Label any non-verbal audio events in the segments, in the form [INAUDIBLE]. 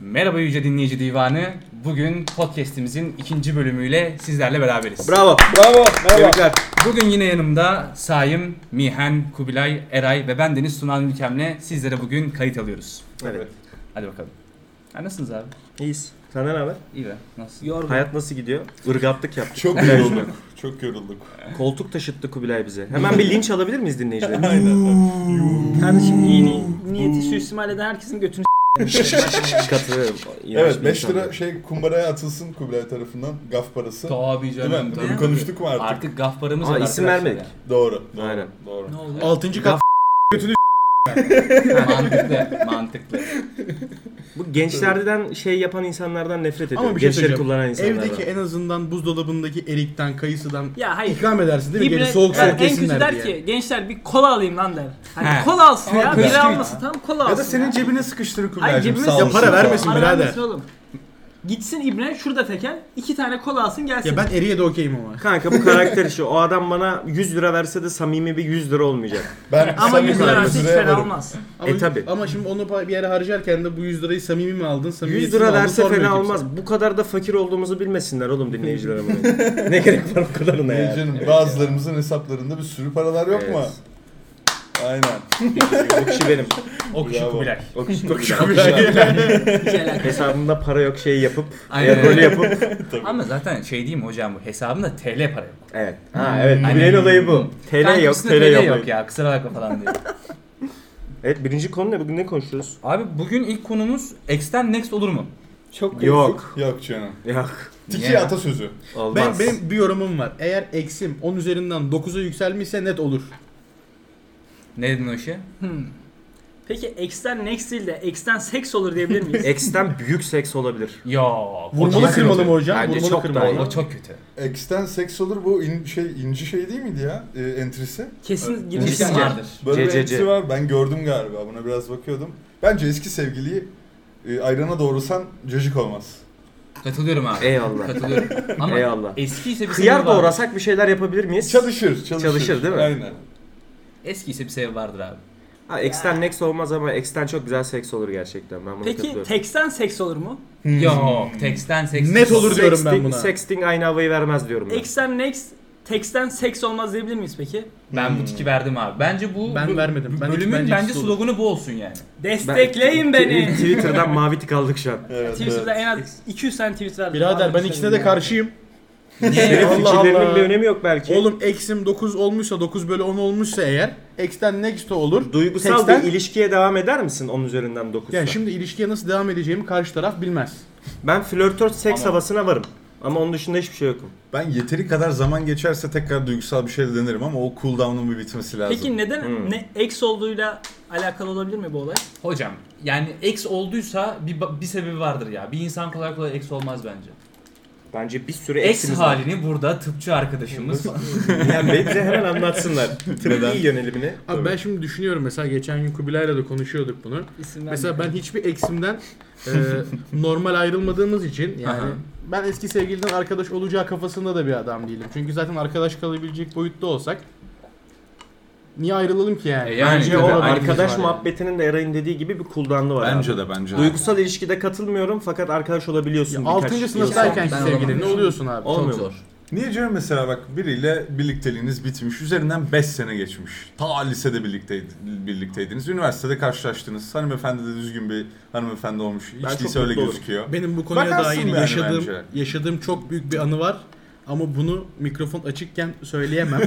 Merhaba Yüce Dinleyici Divanı. Bugün podcast'imizin ikinci bölümüyle sizlerle beraberiz. Bravo. Bravo, merhaba. Tebrikler. Bugün yine yanımda Sayım, Mihen, Kubilay, Eray ve ben Deniz Sunan Ülkem'le sizlere bugün kayıt alıyoruz. Evet. Hadi bakalım. Ha, nasılsınız abi? İyiyiz. Senden ne haber? İyi be. Nasıl? Yorgun. Hayat nasıl gidiyor? Irgatlık yaptık. Çok yorulduk. Çok yorulduk. Koltuk taşıttı Kubilay bize. Hemen bir linç alabilir miyiz [LAUGHS] dinleyicilerimiz? Kardeşim iyi ni- niyeti suistimal eden herkesin götünü Katılıyorum. İğrenç Evet bir 5 insan. lira şey kumbaraya atılsın Kubilay tarafından gaf parası. Tabii Değil mi? canım. Bunu Tabii. konuştuk mu artık? Artık gafparımız Ama şey var isim arkadaşlar vermedik. Doğru. doğru, Aynen. Doğru. ya. Ne oldu? Altıncı kat [LAUGHS] mantıklı, mantıklı. Bu gençlerden şey yapan insanlardan nefret ediyorum. ama bir şey Gençleri söyleyeceğim. kullanan insanlardan. Evdeki en azından buzdolabındaki erikten, kayısıdan Ya hayır. ikram edersin değil mi? Geri Dibine- soğuk Ya soğuk en kötü yesinler der diye. ki gençler bir kola alayım lan der. Hani He. kola alsın ya. kötü. Bira almasın tamam kola alsın. Ya da senin ya. cebine sıkıştırır Ay Kubilay'cım cebime sağ olsun. Ya para vermesin Para birader. vermesin oğlum. Gitsin İbne şurada tekel iki tane kola alsın gelsin. Ya ben eriye de okeyim ama. Kanka bu karakter işi. O adam bana 100 lira verse de samimi bir 100 lira olmayacak. Ben Ama samimi 100 lira bir verse hiç liraya fena varım. olmaz. Ama, E, tabii. Ama şimdi onu pa- bir yere harcarken de bu 100 lirayı samimi mi aldın? 100 samimiyetsiz mi lira aldın, verse sormuyor fena kimse. olmaz. Bu kadar da fakir olduğumuzu bilmesinler oğlum dinleyiciler [LAUGHS] ama. ne gerek var bu kadarına Ee, ya. canım bazılarımızın hesaplarında bir sürü paralar yok mu? Evet. Aynen. O kişi benim. O kişi Bravo. Kubilay. O kişi benim. Hiç alakası yok. Hesabımda para yok şey yapıp, Aynen. e, rolü yapıp Ama zaten şey diyeyim mi hocam bu hesabımda TL para yok. Evet. Ha evet. Aynen. Bilen olayı bu. Ben TL yok, birisine TL yok. ya kusura bakma falan diye. Evet birinci konu ne? Bugün ne konuşuyoruz? Abi bugün ilk konumuz X'ten Next olur mu? Çok Yok. Yok canım. Yok. Tiki Ya. atasözü. Olmaz. Ben, benim bir yorumum var. Eğer eksim 10 üzerinden 9'a yükselmişse net olur. Ne dedin o işe? Peki X'ten next değil de X'ten seks olur [LAUGHS] diyebilir miyiz? E, X'ten büyük seks olabilir. Ya Vurmalı kesin kırmalı olur. mı hocam? Bence Vurmalı çok kırmalı. daha O çok kötü. X'ten seks olur bu in, şey inci şey değil miydi ya? E, entrisi. Kesin Kesin girmişsin vardır. Böyle bir CCC. entrisi var. Ben gördüm galiba. Buna biraz bakıyordum. Bence eski sevgiliyi e, ayrana doğursan cacık olmaz. Katılıyorum abi. Eyvallah. Katılıyorum. Ama Eyvallah. eski ise bir Kıyar sebebi vardır. doğrasak bir şeyler yapabilir miyiz? Çalışır, çalışır. Çalışır, değil mi? Aynen. Eski ise bir sebebi vardır abi. Ha, X'ten next olmaz ama X'ten çok güzel seks olur gerçekten. Ben bunu Peki katılıyorum. teksten seks olur mu? Yok. Teksten seks. Hmm. Net olur diyorum Sexting- ben buna. Sexting aynı havayı vermez diyorum ben. X'ten next teksten seks olmaz diyebilir miyiz peki? Ben bu tiki verdim abi. Bence bu Ben bu- vermedim. Ben- bölümün bence bence ikisi olur. sloganı bu olsun yani. Destekleyin Ben- beni. Twitter'dan mavi tık aldık şu an. Evet, evet. Twitter'da en az 200 tane tweet verdim. Birader Abi, ben sen ikisine de ya. karşıyım. Senin Allah fikirlerinin Allah. bir önemi yok belki. Oğlum eksim 9 olmuşsa 9 bölü 10 olmuşsa eğer eksten next olur. Duygusal Sexten- bir ilişkiye devam eder misin 10 üzerinden 9'sa? Yani şimdi ilişkiye nasıl devam edeceğimi karşı taraf bilmez. Ben flörtöz seks Ama- havasına varım. Ama onun dışında hiçbir şey yokum. Ben yeteri kadar zaman geçerse tekrar duygusal bir şey de denerim ama o cooldown'un bir bitmesi lazım. Hmm. Peki neden ne ex olduğuyla alakalı olabilir mi bu olay? Hocam yani ex olduysa bir, ba- bir sebebi vardır ya. Bir insan kolay kolay ex olmaz bence. Bence bir sürü Ex eksimiz var. halini burada tıpçı arkadaşımız Yani [LAUGHS] beni bize hemen anlatsınlar. Tıbbi yönelimini. Abi ben şimdi düşünüyorum mesela geçen gün Kubilay'la da konuşuyorduk bunu. İsim Mesela ben hiçbir eksimden e, [LAUGHS] normal ayrılmadığımız için Aha. [LAUGHS] yani ben eski sevgiliden arkadaş olacağı kafasında da bir adam değilim. Çünkü zaten arkadaş kalabilecek boyutta olsak niye ayrılalım ki yani? E yani Bence Bence tabii, o- oğlum aynı arkadaş var yani. muhabbetinin de Eray'ın dediği gibi bir kuldanlı var. abi. Bence de bence de. Duygusal ilişkide katılmıyorum fakat arkadaş olabiliyorsun. birkaç Altıncı yıl sınıftayken Ben sevgilin ne olamam. oluyorsun abi? Ol- Çok Olmuyor mu? zor. Niye diyorum mesela bak biriyle birlikteliğiniz bitmiş. Üzerinden 5 sene geçmiş. Ta lisede birlikteydi, birlikteydiniz. Üniversitede karşılaştınız. Hanımefendi de düzgün bir hanımefendi olmuş. Ben Hiç çok değilse öyle mutlu olurum. gözüküyor. Benim bu konuya Bakarsın dair yani yaşadığım bence. yaşadığım çok büyük bir anı var. Ama bunu mikrofon açıkken söyleyemem.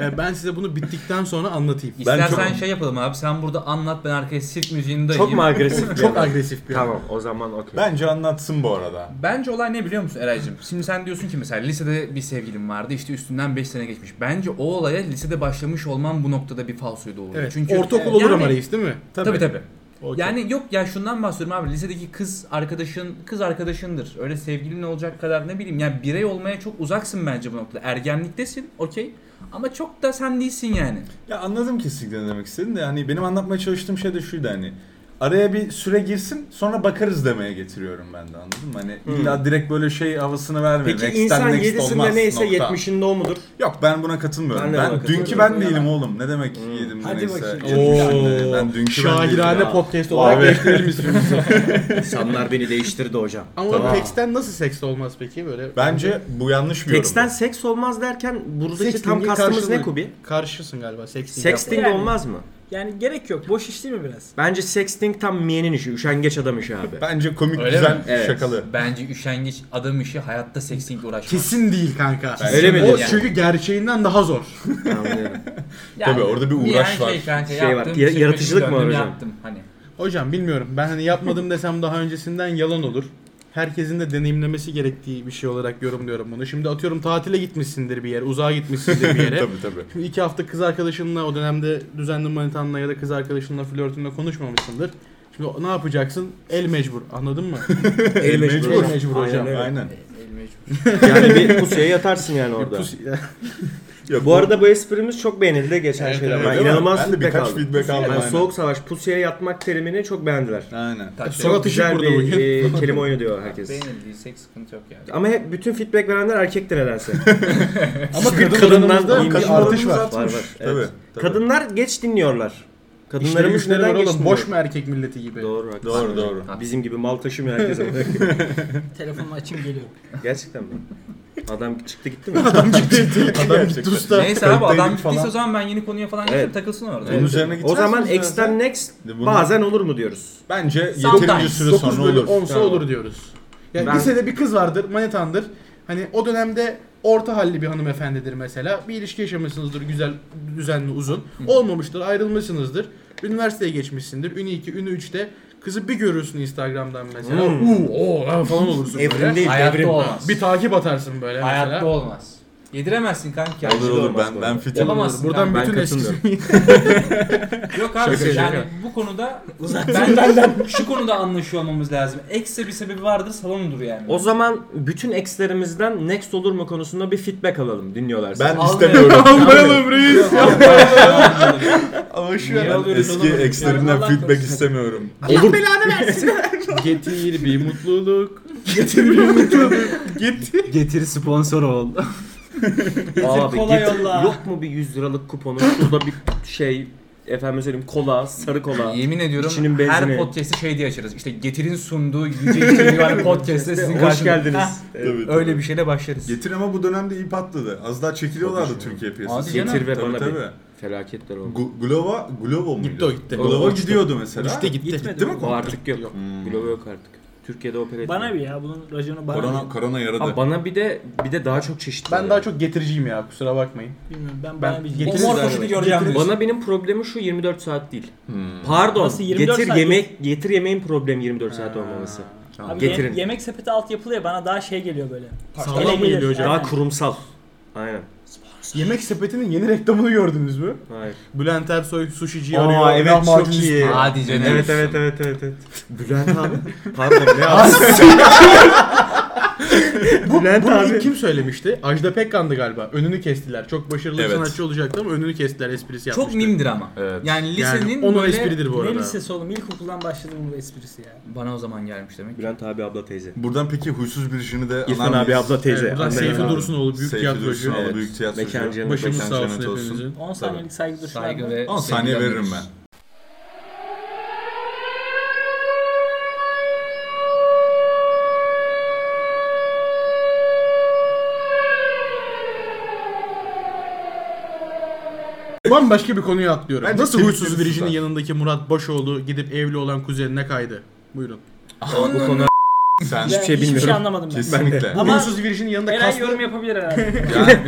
E, ben size bunu bittikten sonra anlatayım. İstersen çok- şey yapalım abi. Sen burada anlat ben arkaya sirk müziğini dayayım. Çok mu agresif? bir Çok adam? agresif bir adam. Tamam o zaman okey. Bence anlatsın bu arada. Bence olay ne biliyor musun Eray'cığım? Şimdi sen diyorsun ki mesela lisede bir sevgilim vardı işte üstünden 5 sene geçmiş. Bence o olaya lisede başlamış olmam bu noktada bir falsoyu doğurdu. Evet. Çünkü Ortaokul Evet. olur ama Yani- reis değil mi? Tabii tabii. Okey. Yani yok ya şundan bahsediyorum abi lisedeki kız arkadaşın kız arkadaşındır. Öyle sevgilin olacak kadar ne bileyim yani birey olmaya çok uzaksın bence bu noktada. Ergenliktesin okey ama çok da sen değilsin yani. Ya anladım kesinlikle ne demek istediğini de hani benim anlatmaya çalıştığım şey de şuydu hani araya bir süre girsin sonra bakarız demeye getiriyorum ben de anladın mı? Hani Hmm. illa direkt böyle şey havasını vermiyorum. Peki Next'ten insan next 7'sinde olmaz, neyse nokta. 70'inde o mudur? Yok ben buna katılmıyorum. Ben Ben, de buna dünkü katılmıyorum. Hmm. ben değilim oğlum. Ne demek yedim Hadi neyse. bakayım. Yedimde. Ben dünkü ben değilim. Şairane Ya. podcast Abi. olarak değiştirelim ismimizi. İnsanlar beni değiştirdi hocam. Ama Tamam. Pex'ten nasıl seks olmaz peki böyle? Bence bu yanlış bir yorum. Teksten seks olmaz derken buradaki tam Sexting'in kastımız karşılığı. ne Kubi? karşısın galiba sexting. Sexting Yani. olmaz mı? Yani gerek yok. Boş iş değil mi biraz? Bence sexting tam miyenin işi, üşengeç adam işi abi. Bence komik Öyle güzel mi? Evet. şakalı. Bence üşengeç adam işi hayatta seksinle uğraşmaz. Kesin değil kanka. Ben- Öyle mi O dedin yani? çünkü gerçeğinden daha zor. Anlıyorum. Yani Tabii, orada bir uğraş yani var. Şey, kanka, Şey var, yaptım, ya- çekmişim, yaratıcılık mı var döndüm, hocam? Yaptım hani. Hocam bilmiyorum. Ben hani yapmadım desem daha öncesinden yalan olur. Herkesin de deneyimlemesi gerektiği bir şey olarak yorumluyorum bunu. Şimdi atıyorum tatile gitmişsindir bir yere, uzağa gitmişsindir bir [LAUGHS] yere. [LAUGHS] tabii tabii. Şimdi iki hafta kız arkadaşınla o dönemde düzenli manitanla ya da kız arkadaşınla flörtünle konuşmamışsındır. Şimdi ne yapacaksın? El mecbur. Anladın mı? El mecbur. El mecbur Aynen hocam. öyle. Aynen. e, Yani bir pusuya yatarsın yani orada. Yok, Bu arada bu esprimiz çok beğenildi geçen Evet, şeyler. evet, Ben değil mi? inanılmaz Ben de feedback birkaç aldım. feedback aldım. Yani aynen. soğuk savaş pusuya yatmak terimini çok beğendiler. Aynen. Takdir- Sonra Çok güzel atışık burada bir e, [LAUGHS] kelime oyunu diyor herkes. Beğenildiysek sıkıntı yok yani. Ama hep bütün feedback verenler erkektir nedense. [LAUGHS] Ama Çünkü kadınlarımızda kadından bir iyi şey artış var. Var var. Evet. Tabii, tabii. Kadınlar geç dinliyorlar. İşleri Kadınlarımız güçleri neden var geç oğlum. dinliyor? Boş mu erkek milleti gibi? Doğru haklısın. Doğru doğru. Bizim gibi mal taşımıyor herkese. [LAUGHS] Telefonumu [LAUGHS] açayım geliyorum. Gerçekten mi? [LAUGHS] Adam çıktı gitti mi? Adam gitti usta. Neyse abi adam Kayıttaydık gittiyse falan. o zaman ben yeni konuya falan Evet. geçip takılsın orada. Bunun üzerine o gitmez zaman miyiz zaten? X'ten Next Bunu- bazen olur mu diyoruz? Bence yeterince Sometimes. süre 9 sonra bölü olur. 10'sa Tamam. olur diyoruz. Yani Ben- lisede bir kız vardır, manitandır. Hani o dönemde orta halli bir hanımefendidir mesela. Bir ilişki yaşamışsınızdır güzel, düzenli, uzun. Olmamıştır, ayrılmışsınızdır. Üniversiteye geçmişsindir. Ünü 2, ünü 3'te. Kızı bir görürsün Instagram'dan mesela. Hmm. Uuu, oo lan falan olursun Evrim böyle. değil, Hayatta evrim. olmaz. Bir takip atarsın böyle Hayatta mesela. olmaz. Yediremezsin kanka. Olur olur olmaz ben bu ben arada. fitim. Yapamazsın. Buradan kanka. Ben bütün katılmıyorum. eski... Yok abi Şaka, şaka. yani bu konuda benden şu konuda anlaşıyor olmamız lazım. Ekse bir sebebi vardır salonudur yani. O zaman bütün X'lerimizden Next olur mu konusunda bir feedback alalım dinliyorlarsa. Ben Almayalım. istemiyorum. Almayalım reis. Niye Ben alıyoruz eski oğlum? eklerimden Allah feedback korusun. istemiyorum. Allah belanı versin. Getir [LAUGHS] bir mutluluk. Getir sponsor [LAUGHS] ol. Abi Kolay getir- yolla. Yok mu bir 100 liralık kuponu? Şurada bir şey efendim söyleyeyim kola, sarı kola. Yemin ediyorum İçinin benzini. her podcast'i şey diye açarız. İşte Getir'in sunduğu Yüce İçeri var podcast'te sizin Hoş karşınızda. geldiniz. Heh, [LAUGHS] Evet. Tabii, Öyle tabii. bir şeyle başlarız. Getir ama bu dönemde iyi patladı. Az daha çekiliyorlardı Türkiye piyasası. Hadi canım. Getir ve Tabii, bana tabii. Felaketler oldu. Gu- Glova, Glovo muydu? Gitti o, gitti. Glova Uçtu. gidiyordu mesela. Hmm. Gitti gitti. Gitti mi O konu? artık yok. Hmm. Globo yok artık. Türkiye'de opera etmiyor. Bana bir ya bunun raconu bana. Korona, bir. korona yaradı. Abi bana bir de bir de daha çok çeşitli. Ben var daha yani. çok getiriciyim ya kusura bakmayın. Bilmiyorum ben, Ben bana bir. getiririz O mor abi. poşeti göreceğim. Bana benim problemi şu 24 saat değil. Hmm. Pardon. Nasıl 24 getir saat yemek, getir yemeğin problemi 24 saat olmaması. Abi ye- Getirin. yemek sepeti alt yapılı ya bana daha şey geliyor böyle. Sağlam Ele mı geliyor hocam? Daha Aynen. kurumsal. Aynen. Yemek sepetinin yeni reklamını gördünüz mü? Hayır. Bülent Ersoy sushiciyi Aa, arıyor. evet, lahmacun çok istiyor. iyi. Hadi canım. Evet evet evet evet evet. Bülent abi. Pardon ne Bu, Bülent bunu abi. ilk kim söylemişti? Ajda Pekkan'dı galiba. Önünü kestiler. Çok başarılı bir Evet. sanatçı olacaktı ama önünü kestiler esprisi yapmıştı. Çok mimdir ama. Evet. Yani lisenin yani onun böyle... espridir bu Ne arada. lisesi oğlum ilkokuldan başladı bu esprisi ya. Bana o zaman gelmiş demek. Bülent abi abla teyze. Buradan peki huysuz bir işini de İrfan abi abla teyze. Evet, buradan Anlayın Seyfi abi. Dursunoğlu büyük Seyfi tiyatrocu. Dursunoğlu Evet. büyük tiyatrocu. Mekan cennet Başınız Mekan sağ olsun cennet hepinizin. 10 saniyelik saygı duruşu Saygı verdim. ve 10 saniye sevgiler veririm duyuyoruz. ben. Bambaşka bir konuya atlıyorum. Bence Nasıl kemikleri huysuz biricinin sızlar. yanındaki Murat Başoğlu gidip evli olan kuzenine kaydı? Buyurun. Bu konu Sen Ben Hiçbir şey Hiçbir şey bilmiyorum. anlamadım ben. kesinlikle. Bu Ama- huysuz virjinin yanında Eren kastı... yorum [LAUGHS] yapabilir herhalde. Yani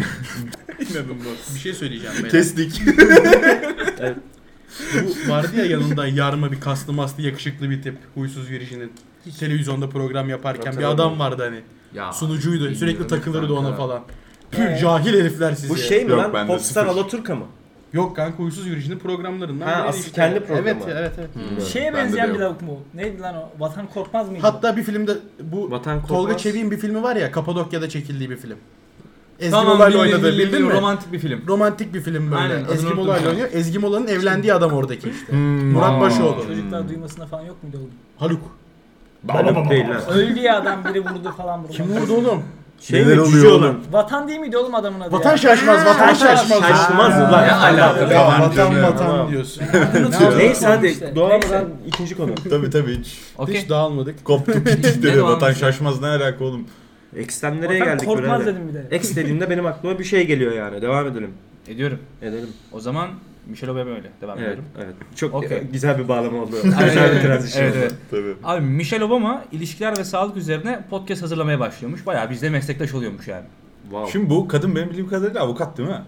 [LAUGHS] Bir şey söyleyeceğim. beyler. kestik. Bu vardı ya yanında yarma bir kaslı maslı yakışıklı bir tip. Huysuz virjinin. Televizyonda program yaparken bir adam vardı hani. Ya. Sunucuydu. Sürekli bilmiyorum takılırdı kanka. ona falan. Ee? Püh cahil herifler siz Bu ya. şey mi Yok, lan? bende Popstar sıfır. Alaturka mı? Yok kanka huysuz virjinin programlarından Ha, biriydi asıl kendi Evet programı. evet evet. Şeye Bende de benzeyen yok. bir lavuk mu? Neydi lan o? Vatan korkmaz mıydı? Hatta bir filmde bu Vatan Tolga Korkmaz. Çevik'in bir filmi var ya Kapadokya'da çekildiği bir film. Ezgi Tamam, Mola'yla bildim, oynadı bildim, bildin mi? bildim. Romantik bir film. Romantik bir film böyle. Aynen, adını Ezgi unuttum Mola'yla ya. oynuyor. Ezgi Mola'nın evlendiği adam oradaki işte. Murat Başoğlu. Çocuklar duymasına falan yok muydu oğlum? Haluk. Balım değil lan. Öldü ya adam biri vurdu falan vurdu. Kim vurdu oğlum? Şey Neler mi oluyor cüce oğlum? olan? Vatan değil miydi oğlum adamın adı Vatan ya? şaşmaz, vatan şaşmaz. Şaşmaz Ha. lan. Ne alaka be? Ya Ben vatan bilmiyorum. vatan Tamam. diyorsun. Neyse hadi İşte. doğamadan ikinci konu. [LAUGHS] Tabii tabii hiç. Okey. Hiç [LAUGHS] dağılmadık. Koptuk gittik Ne dedi. devamı Vatan ya? şaşmaz ne alaka oğlum. Eksten nereye Vatan geldik korkmaz birader? dedim bir de. Eks dediğimde benim aklıma bir şey geliyor yani. Devam edelim. Ediyorum. Edelim. O zaman Michel Obama öyle. Devam Evet. ediyorum. evet. Çok Okey. güzel bir bağlama oldu. Aynen, [LAUGHS] güzel bir aynen. transition Evet, oldu. evet. Tabii. Abi Michelle Obama ilişkiler ve sağlık üzerine podcast hazırlamaya başlıyormuş. Bayağı bizde meslektaş oluyormuş yani. Wow. Şimdi bu kadın benim bildiğim kadarıyla avukat değil mi?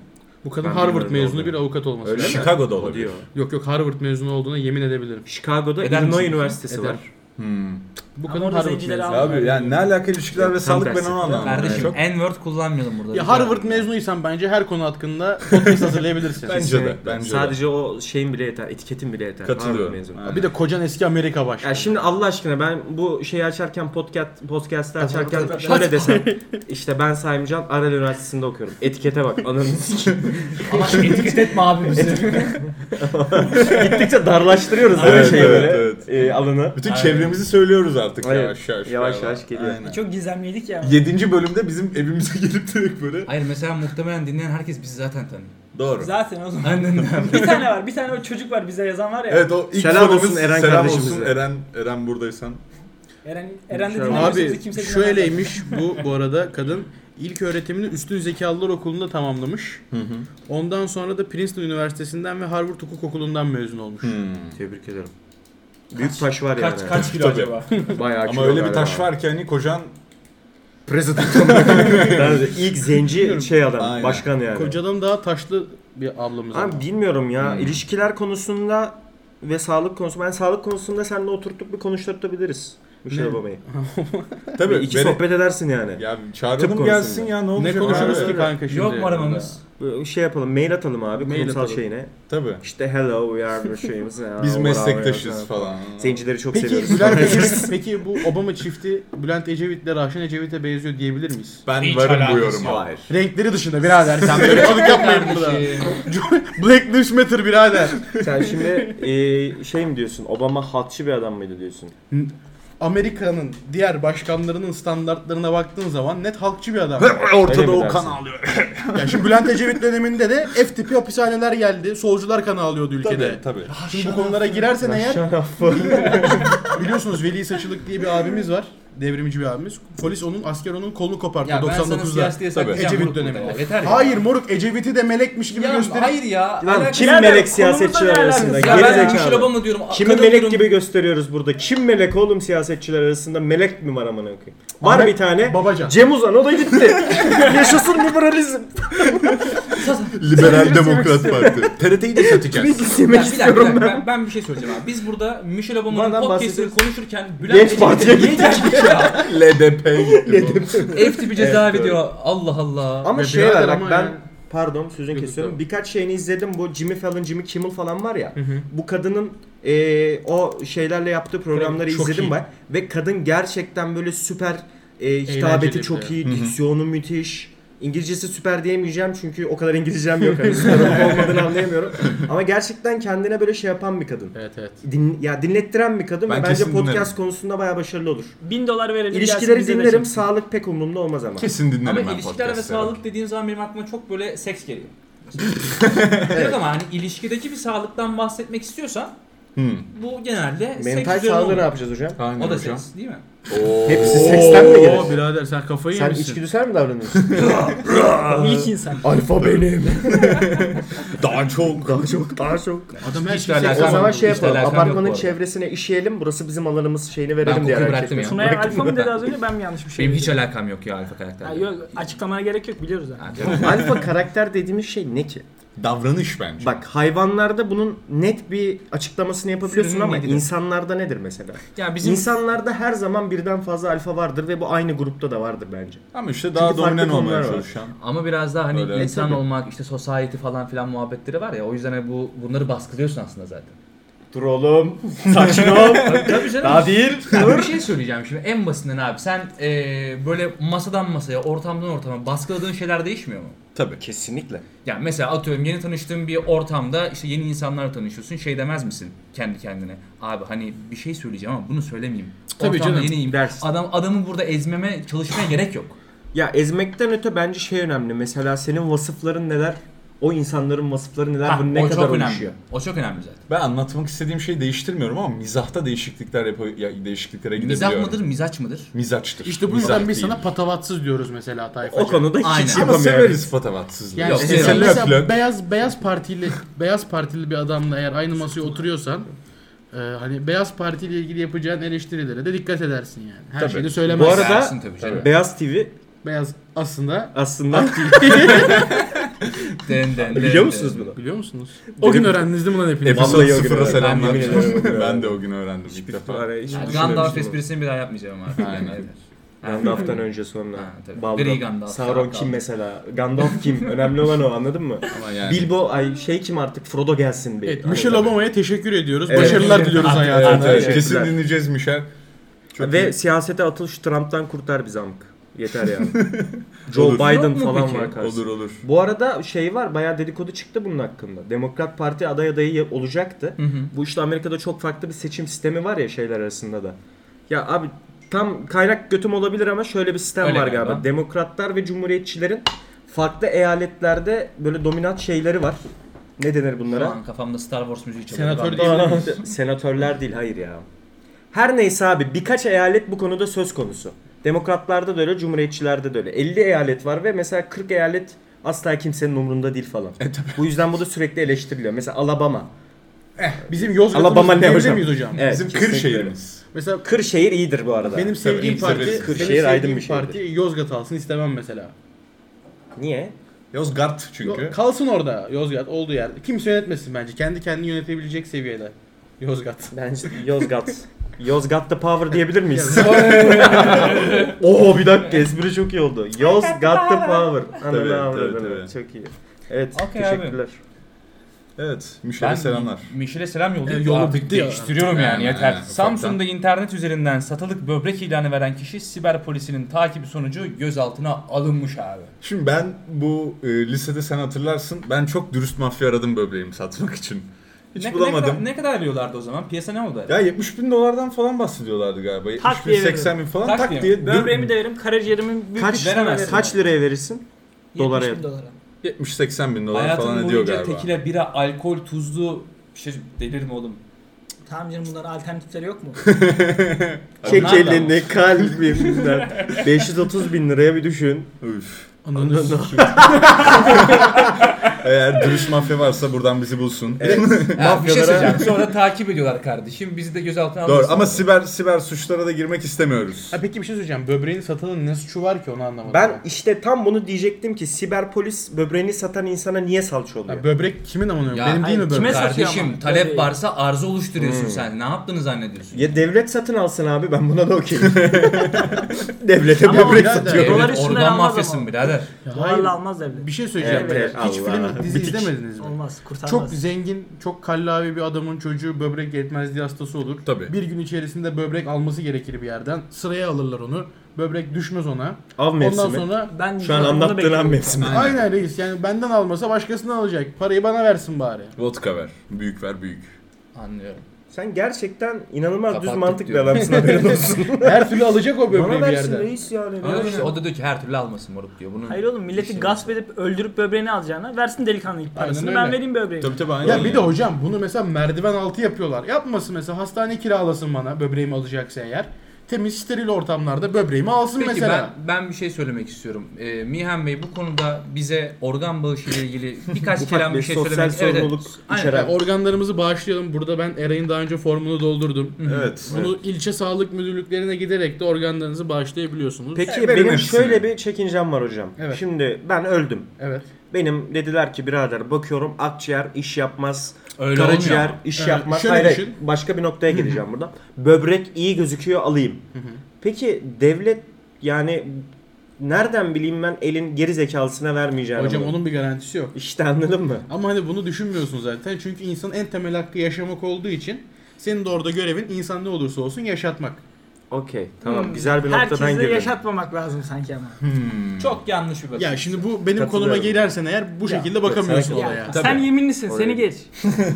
Bu kadın Ben Harvard bilmiyorum mezunu oldu. bir avukat olması Öyle lazım. mi? Chicago'da O olabilir. diyor. Yok yok Harvard mezunu olduğuna yemin edebilirim. Chicago'da Eder Illinois misin? Üniversitesi Eder. var. Hmm. Bu Ama kadın orada Harvard zencileri mezunu. al- Ya Abi yani ne alaka ilişkiler ve Tam sağlık ben tersi. onu anlamadım. Kardeşim Çok- N-word kullanmayalım burada. Ya rica Harvard ederim. mezunuysan bence her konu hakkında podcast hazırlayabilirsin. Bence de, Kesinlikle. bence de. Şey, Sadece o şeyin bile yeter, etiketin bile yeter. Katılıyorum. Harvard mezunu. Aynen. bir de kocan eski Amerika başkanı. Ya şimdi Allah aşkına ben bu şeyi açarken podcast podcast'ı açarken tabii. şöyle desem işte ben Saim Can Aral Üniversitesi'nde okuyorum. Etikete bak ananı sikeyim. [LAUGHS] Ama etiket etme abi bizi. Gittikçe darlaştırıyoruz Evet, evet, şeyleri, evet, evet. e, alanı. şey Bütün çevremizi söylüyoruz artık Aynen. yavaş yavaş. Yavaş galiba. yavaş geliyor. Aynen. Çok gizemliydik ya. Yedinci bölümde bizim evimize [LAUGHS] gelip direkt böyle. Hayır mesela muhtemelen dinleyen herkes bizi zaten tanıyor. Doğru. Zaten oğlum. Aynen öyle. bir tane var. Bir tane o çocuk var bize yazan var ya. Evet o ilk Selam sorumuz- olsun Eren selam kardeşimize. olsun Eren, Eren buradaysan. Eren, Eren de Abi, dinlemiyorsa bizi Abi kimse dinlemez. şöyleymiş bu bu arada kadın ilk öğretimini Üstün Zekalılar Okulu'nda tamamlamış. Ondan sonra da Princeton Üniversitesi'nden ve Harvard Hukuk Okulu'ndan mezun olmuş. Hmm, Tebrik ederim. Büyük taş var Kaç yani. kaç kilo Tabii. acaba? Bayağı Ama kilo öyle bir galiba. taş var ki [LAUGHS] hani kocan [LAUGHS] Ben de ilk zenci şey adam, Aynen. başkan yani. Kocadan daha taşlı bir ablamız Abi şey ama. bilmiyorum ya. Hmm. İlişkiler konusunda ve sağlık konusunda. Ben sağlık konusunda seninle oturtup bir konuşturtabiliriz. Michelle Obama'yı. tabii Bir iki bere- sohbet edersin yani. Ya Tıp çağıralım konusunda. gelsin ya ne Ne olacak? konuşuruz abi? ki kanka şimdi? Yok mu aramamız? Böyle Şey yapalım, mail atalım abi Mail kurumsal atalım. şeyine. Tabii. İşte hello we are the şeyimiz. ya, Biz whatever, meslektaşız whatever. falan. Zencileri çok Peki seviyoruz. [LAUGHS] Bülent Ecevit, peki bu Obama çifti Bülent Ecevit'le Rahşan Ecevit'e benziyor diyebilir miyiz? Ben Hiç varım bu alakası yoruma. Hayır. Renkleri dışında birader sen [LAUGHS] böyle çalık yapmayın burada. [LAUGHS] Black Lives Matter birader. [LAUGHS] Sen şimdi e, şey mi diyorsun? Obama hatçı bir adam mıydı diyorsun? Amerika'nın diğer başkanlarının standartlarına baktığın zaman net halkçı bir adam. Öyle mi Ortada o dersin? kan alıyor. Ya şimdi Bülent Ecevit döneminde de F tipi hapishaneler geldi. Solcular kanı alıyordu ülkede. Tabii tabii. Şimdi bu konulara girersen eğer Şarafı. biliyorsunuz Veli Saçılık diye bir abimiz var. Devrimci bir abimiz. Polis onun asker onun kolunu koparttı Ya ben sana 99'da. siyasi diye Tabii. saklayacağım Ecevit moruk burada döneminde. ya. Yeter ya. Hayır moruk Ecevit'i de melekmiş gibi Ya gösterip hayır ya. Lan Alakası- kim Birader, melek konumuzla ne siyasetçiler alakası arasında? var? Ya Geri ben Michelle zekalı. Obama diyorum. Kimi kadın melek diyorum. gibi gösteriyoruz burada? Kim melek oğlum siyasetçiler arasında? Melek mi var amına koyayım? Var Ahmet bir tane. Babacan. Cem Uzan o da gitti. [LAUGHS] Yaşasın liberalizm. Liberal Demokrat [LAUGHS] Parti. TRT'yi de satacağız. Ya İzlemek bir dakika, bir istiyorum dakika. ben. Ben, ben bir şey söyleyeceğim abi. Biz burada Michelle Obama'nın Bana podcast'ini bahsediyorsun. konuşurken Genç Bülent Parti'ye Ecevit'e niye geldik [LAUGHS] ya? LDP'ye gittim. F tipi cezaevi diyor. Allah Allah. Ama Ve şey birader var bak ama ben yani- pardon sözünü Yok, kesiyorum. yok. Birkaç şeyini izledim. Bu Jimmy Fallon, Jimmy Kimmel falan var ya. Bu kadının eee, o şeylerle yaptığı programları Çok izledim iyi. ben. Ve kadın gerçekten böyle süper eee, hitabeti Eğlenceli çok bir iyi, diksiyonu müthiş. İngilizcesi süper diyemeyeceğim çünkü o kadar İngilizcem [LAUGHS] yok. Hani süper olup olmadığını anlayamıyorum. Ama gerçekten kendine böyle şey yapan bir kadın. Evet evet. Din, ya dinlettiren bir kadın Ben ve bence kesin podcast dinlerim. konusunda bayağı başarılı olur. Bin dolar verelim. İlişkileri gelsin bize dinlerim, de şimdi. sağlık pek umurumda olmaz ama. Kesin dinlerim Ama ben ilişkiler ve podcast'ı. sağlık dediğin zaman benim aklıma çok böyle seks [LAUGHS] geliyor. evet. ama hani ilişkideki bir sağlıktan bahsetmek istiyorsan Hmm. bu genelde Mental seks üzerine sağlığı olur. ne yapacağız hocam? O da seks değil mi? Hepsi seksten mi gelir? Oo birader sen kafayı Sen yemişsin. içgüdüsel mi davranıyorsun? İlk insan. [LAUGHS] Alfa benim. Daha çok. Daha çok daha çok. Adam her Hiç şeyi O alakam seksen- yok. zaman şey İşte yapalım. alakam yok bu Apartmanın arada. çevresine işeyelim. Burası bizim alanımız şeyini Ben verelim diye kokuyu hareket bıraktım ya. etmesin. Tuna'ya alfa mı dedi az önce ben mi yanlış bir şey Benim hiç dedim? alakam yok ya alfa karakterle. Ha, yok, açıklamaya gerek yok biliyoruz zaten. Ha, Alfa karakter dediğimiz şey ne ki? Davranış bence. Bak hayvanlarda bunun net bir açıklamasını yapabiliyorsun Sürünün ama nedir? insanlarda nedir mesela? Ya bizim İnsanlarda her zaman birden fazla alfa vardır ve bu aynı grupta da vardır bence. Ama işte daha Çünkü farklı dominant olmaya konular var. çalışan. ama biraz daha hani Öyle. insan Tabii. olmak işte society falan filan muhabbetleri var ya o yüzden hani bu bunları baskılıyorsun aslında zaten. [LAUGHS] Dur oğlum. Sakin [LAUGHS] ol. Tabii canım. Daha değil. Ya bir şey söyleyeceğim şimdi en basitinden abi sen eee, böyle masadan masaya ortamdan ortama baskıladığın şeyler değişmiyor mu? Tabii. Kesinlikle. Yani mesela atıyorum yeni tanıştığın bir ortamda işte yeni insanlarla tanışıyorsun şey demez misin kendi kendine? Abi hani bir şey söyleyeceğim ama bunu söylemeyeyim. Tabii Ortamda canım, yeniyim. dersin. Adam, adamı burada ezmeme çalışmaya gerek yok. Ya ezmekten öte bence şey önemli. Mesela senin vasıfların neler? O insanların vasıfları neler? Ha, Bu ne o kadar çok önemli. uyuşuyor? O çok önemli zaten. Ben anlatmak istediğim şeyi değiştirmiyorum ama mizahta değişiklikler yapı- ya- değişikliklere gidebiliyorum. Mizah mıdır mizaç mıdır? [LAUGHS] Mizaçtır. İşte bu Mizah yüzden biz değil. sana patavatsız diyoruz mesela Tayfacı. O konuda Aynen. hiç ama yapamıyorum. severiz patavatsızlığı. Yani Yok, sen sen mesela löp löp. beyaz beyaz partili beyaz partili bir adamla eğer aynı masaya oturuyorsan e, hani beyaz partiyle ilgili yapacağın eleştirilere de dikkat edersin yani. Her Tabii. şeyi de söylemezsin. Bu arada- Dersin tabii canım. Ah, Beyaz TV beyaz aslında aslında [LAUGHS] Den, den, den, biliyor musunuz den. bunu? biliyor musunuz? O gün öğrendiniz değil mi lan hepiniz? Hepimiz- Episode Vallahi o gün sıfıra öğrendim. selamlar. Ben yemin ediyorum. ben de o gün öğrendim ilk Hiçbir defa. ara- hiçbir Yani şey Gandalf demiştim. esprisini bir daha yapmayacağım abi. Aynen. Yeter. [LAUGHS] Gandalf'tan önce sonra. Ha, tabii. Balrog, Gri Gandalf, Sauron Gandalf. kim mesela? [LAUGHS] Gandalf kim? Önemli olan o anladın mı? Ama yani. Bilbo ay şey kim artık? Frodo gelsin bir. Evet, Hani- Michelle Obama'ya teşekkür ediyoruz. Evet. Başarılar diliyoruz Artık- hayatında. Evet, evet. Teşekkürler. Kesin dinleyeceğiz Mişel. Çok Ve iyi. siyasete atıl şu Trump'tan kurtar bizi amk. Yeter yani. Joe Olur. Biden Yok mu falan peki? var karşısında. olur olur. Bu arada şey var bayağı dedikodu çıktı bunun hakkında. Demokrat Parti aday adayı olacaktı. Hı hı. Bu işte Amerika'da çok farklı bir seçim sistemi var ya şeyler arasında da. Ya abi tam kaynak götüm olabilir ama şöyle bir sistem Öyle var galiba. galiba. Demokratlar ve Cumhuriyetçilerin farklı eyaletlerde böyle dominant şeyleri var. Ne denir Şu bunlara? an kafamda Star Wars müziği çalıyor. Senatör Ben- diyebilir miyiz? Senatörler değil hayır ya. Her neyse abi birkaç eyalet bu konuda söz konusu. Demokratlarda da öyle, Cumhuriyetçilerde de öyle. 50 eyalet var ve mesela 40 eyalet asla kimsenin umrunda değil falan. Bu yüzden bu da sürekli eleştiriliyor. Mesela Alabama. Bizim Yozgat'ımız Alabama ne diyebilir hocam? miyiz hocam? Evet, Bizim kesinlikle öyle. Kırşehir'imiz. Mesela Kırşehir iyidir bu arada. benim sevdiğim Tabii, parti, biz de benim veririz. Kırşehir sevdiğim aydın bir şehirdir. parti Yozgat alsın istemem mesela. Niye? Yozgat çünkü. Yo- Kalsın orada Yozgat olduğu yerde. Kimse yönetmesin bence. Kendi kendini yönetebilecek seviyede. Yozgat. Bence Yozgat. [LAUGHS] Yozgat the power diyebilir miyiz? [LAUGHS] Oo bir dakika espri çok iyi oldu. Yozgat the power. Tabii, Anladım, tabii, anladım. tabii. Çok iyi. Evet, Okey abi. teşekkürler. Evet. Michel'e Ben selamlar. Mişel'e selam yolluyorum. E, yolu Artık bitti ya. Değiştiriyorum yani, Yani, yeter. yani, Samsun'da internet üzerinden satılık böbrek ilanı veren kişi siber polisinin takibi sonucu gözaltına alınmış abi. Şimdi ben bu e, lisede sen hatırlarsın. Ben çok dürüst mafya aradım böbreğimi satmak için. Hiç ne, bulamadım. Ne kadar, ne kadar veriyorlardı o zaman? Piyasa ne oldu? Ya 70 bin dolardan falan bahsediyorlardı galiba. 70 bin, diye 80 bin falan Tak tak, diye. diye. Böbreğimi de verim, karaciğerimin büyük Kaç, veremezsin. kaç liraya verirsin? Dolara yap. dolara. 70-80 bin dolar Hayatım falan ediyor boyunca galiba. tekile, bira, alkol, tuzlu bir şey delir mi [LAUGHS] oğlum? Tamam canım bunların alternatifleri yok mu? Çek Onlar da var. elini kalbimden. 530 bin liraya bir düşün. Üf. Anladın mı? [LAUGHS] Eğer dürüst mafya varsa buradan bizi bulsun. Ya, bir şey Mafyalara- söyleyeceğim. Sonra takip ediyorlar kardeşim. Bizi de gözaltına almasın. Doğru ama siber siber suçlara da girmek istemiyoruz. Ha peki bir şey söyleyeceğim. Böbreğini satanın ne suçu var ki onu anlamadım. Ben işte tam bunu diyecektim ki siber polis böbreğini satan insana niye salça oluyor? Ha, böbrek kimin amına? Ya, Benim değil mi hayır, kime böbrek? satıyor Kardeşim şey ama? talep Tabii. varsa arzu Hmm. oluşturuyorsun sen. Ne yaptığını zannediyorsun? Ya devlet satın alsın abi ben buna da okeyim. Devlete Ama böbrek birader- satıyor. Devlet Dolar üstünden organ almaz mafyasın ama. birader. Ya hayır. Dolarla almaz devlet. Bir şey söyleyeceğim. Evet, Hiç Allah. film dizi Bitik. izlemediniz mi? Olmaz, kurtarmaz. Çok zengin, çok kallavi bir adamın çocuğu böbrek yetmezliği hastası olur. Tabii. Bir gün içerisinde böbrek alması gerekir bir yerden. Sıraya alırlar onu. Böbrek düşmez ona. Av Ondan mevsimi. sonra Ben Şu an bunu anlattığın an bekliyorum. mevsimi. aynen. reis yani benden almasa başkasından alacak. Parayı bana versin bari. Vodka ver. Büyük ver büyük. Anlıyorum. Sen gerçekten inanılmaz düz Kapattık mantık bir diyorum. adamsın haberin olsun. Her türlü alacak o böbreği Bana bir versin yerden. reis yani. Ama işte o da diyor ki her türlü almasın moruk diyor. Bunun Hayır oğlum milleti Şey. işi- gasp edip öldürüp böbreğini alacağına versin delikanlı ilk parasını öyle. ben vereyim böbreğini. Tabii tabii aynen. Ya bir öyle. de hocam bunu mesela merdiven altı yapıyorlar. Yapmasın mesela hastane kiralasın bana böbreğimi alacaksa eğer. Temiz steril ortamlarda böbreğimi alsın Peki mesela. ben, ben bir şey söylemek istiyorum. Ee, Mihan Bey bu konuda bize organ bağışı ile ilgili [LAUGHS] birkaç Ufak kelam bir bir şey sosyal söylemek Evet, evet. sorumluluk Aynen. Yani içeren. organlarımızı bağışlayalım. Burada ben Eray'ın daha önce formunu doldurdum. Evet. Bunu ilçe sağlık müdürlüklerine giderek de organlarınızı bağışlayabiliyorsunuz. Peki Verin benim hepsini. şöyle bir çekincem var hocam. Evet. Şimdi ben öldüm. Evet. Benim dediler ki birader bakıyorum akciğer iş yapmaz. Öyle olmuyor karaciğer ama. iş Evet, yapmaz. şöyle Hayır, hayır, düşün. başka bir noktaya geleceğim buradan. Böbrek iyi gözüküyor alayım. Peki devlet yani nereden bileyim ben elin geri zekalısına vermeyeceğim. Hocam onun bir garantisi yok. İşte anladın mı? Ama hani bunu düşünmüyorsun zaten. Çünkü insanın en temel hakkı yaşamak olduğu için senin de orada görevin insan ne olursa olsun yaşatmak. Okey. Tamam. Güzel bir noktadan Herkesi de girdin. yaşatmamak lazım [LAUGHS] sanki ama. Çok yanlış bir bakış. Ya şimdi bu benim konuma Katılıyorum. gelirsen eğer bu Ya, şekilde bakamıyorsun sakin ol. olaya. Sen yeminlisin Oraya [LAUGHS] seni geç.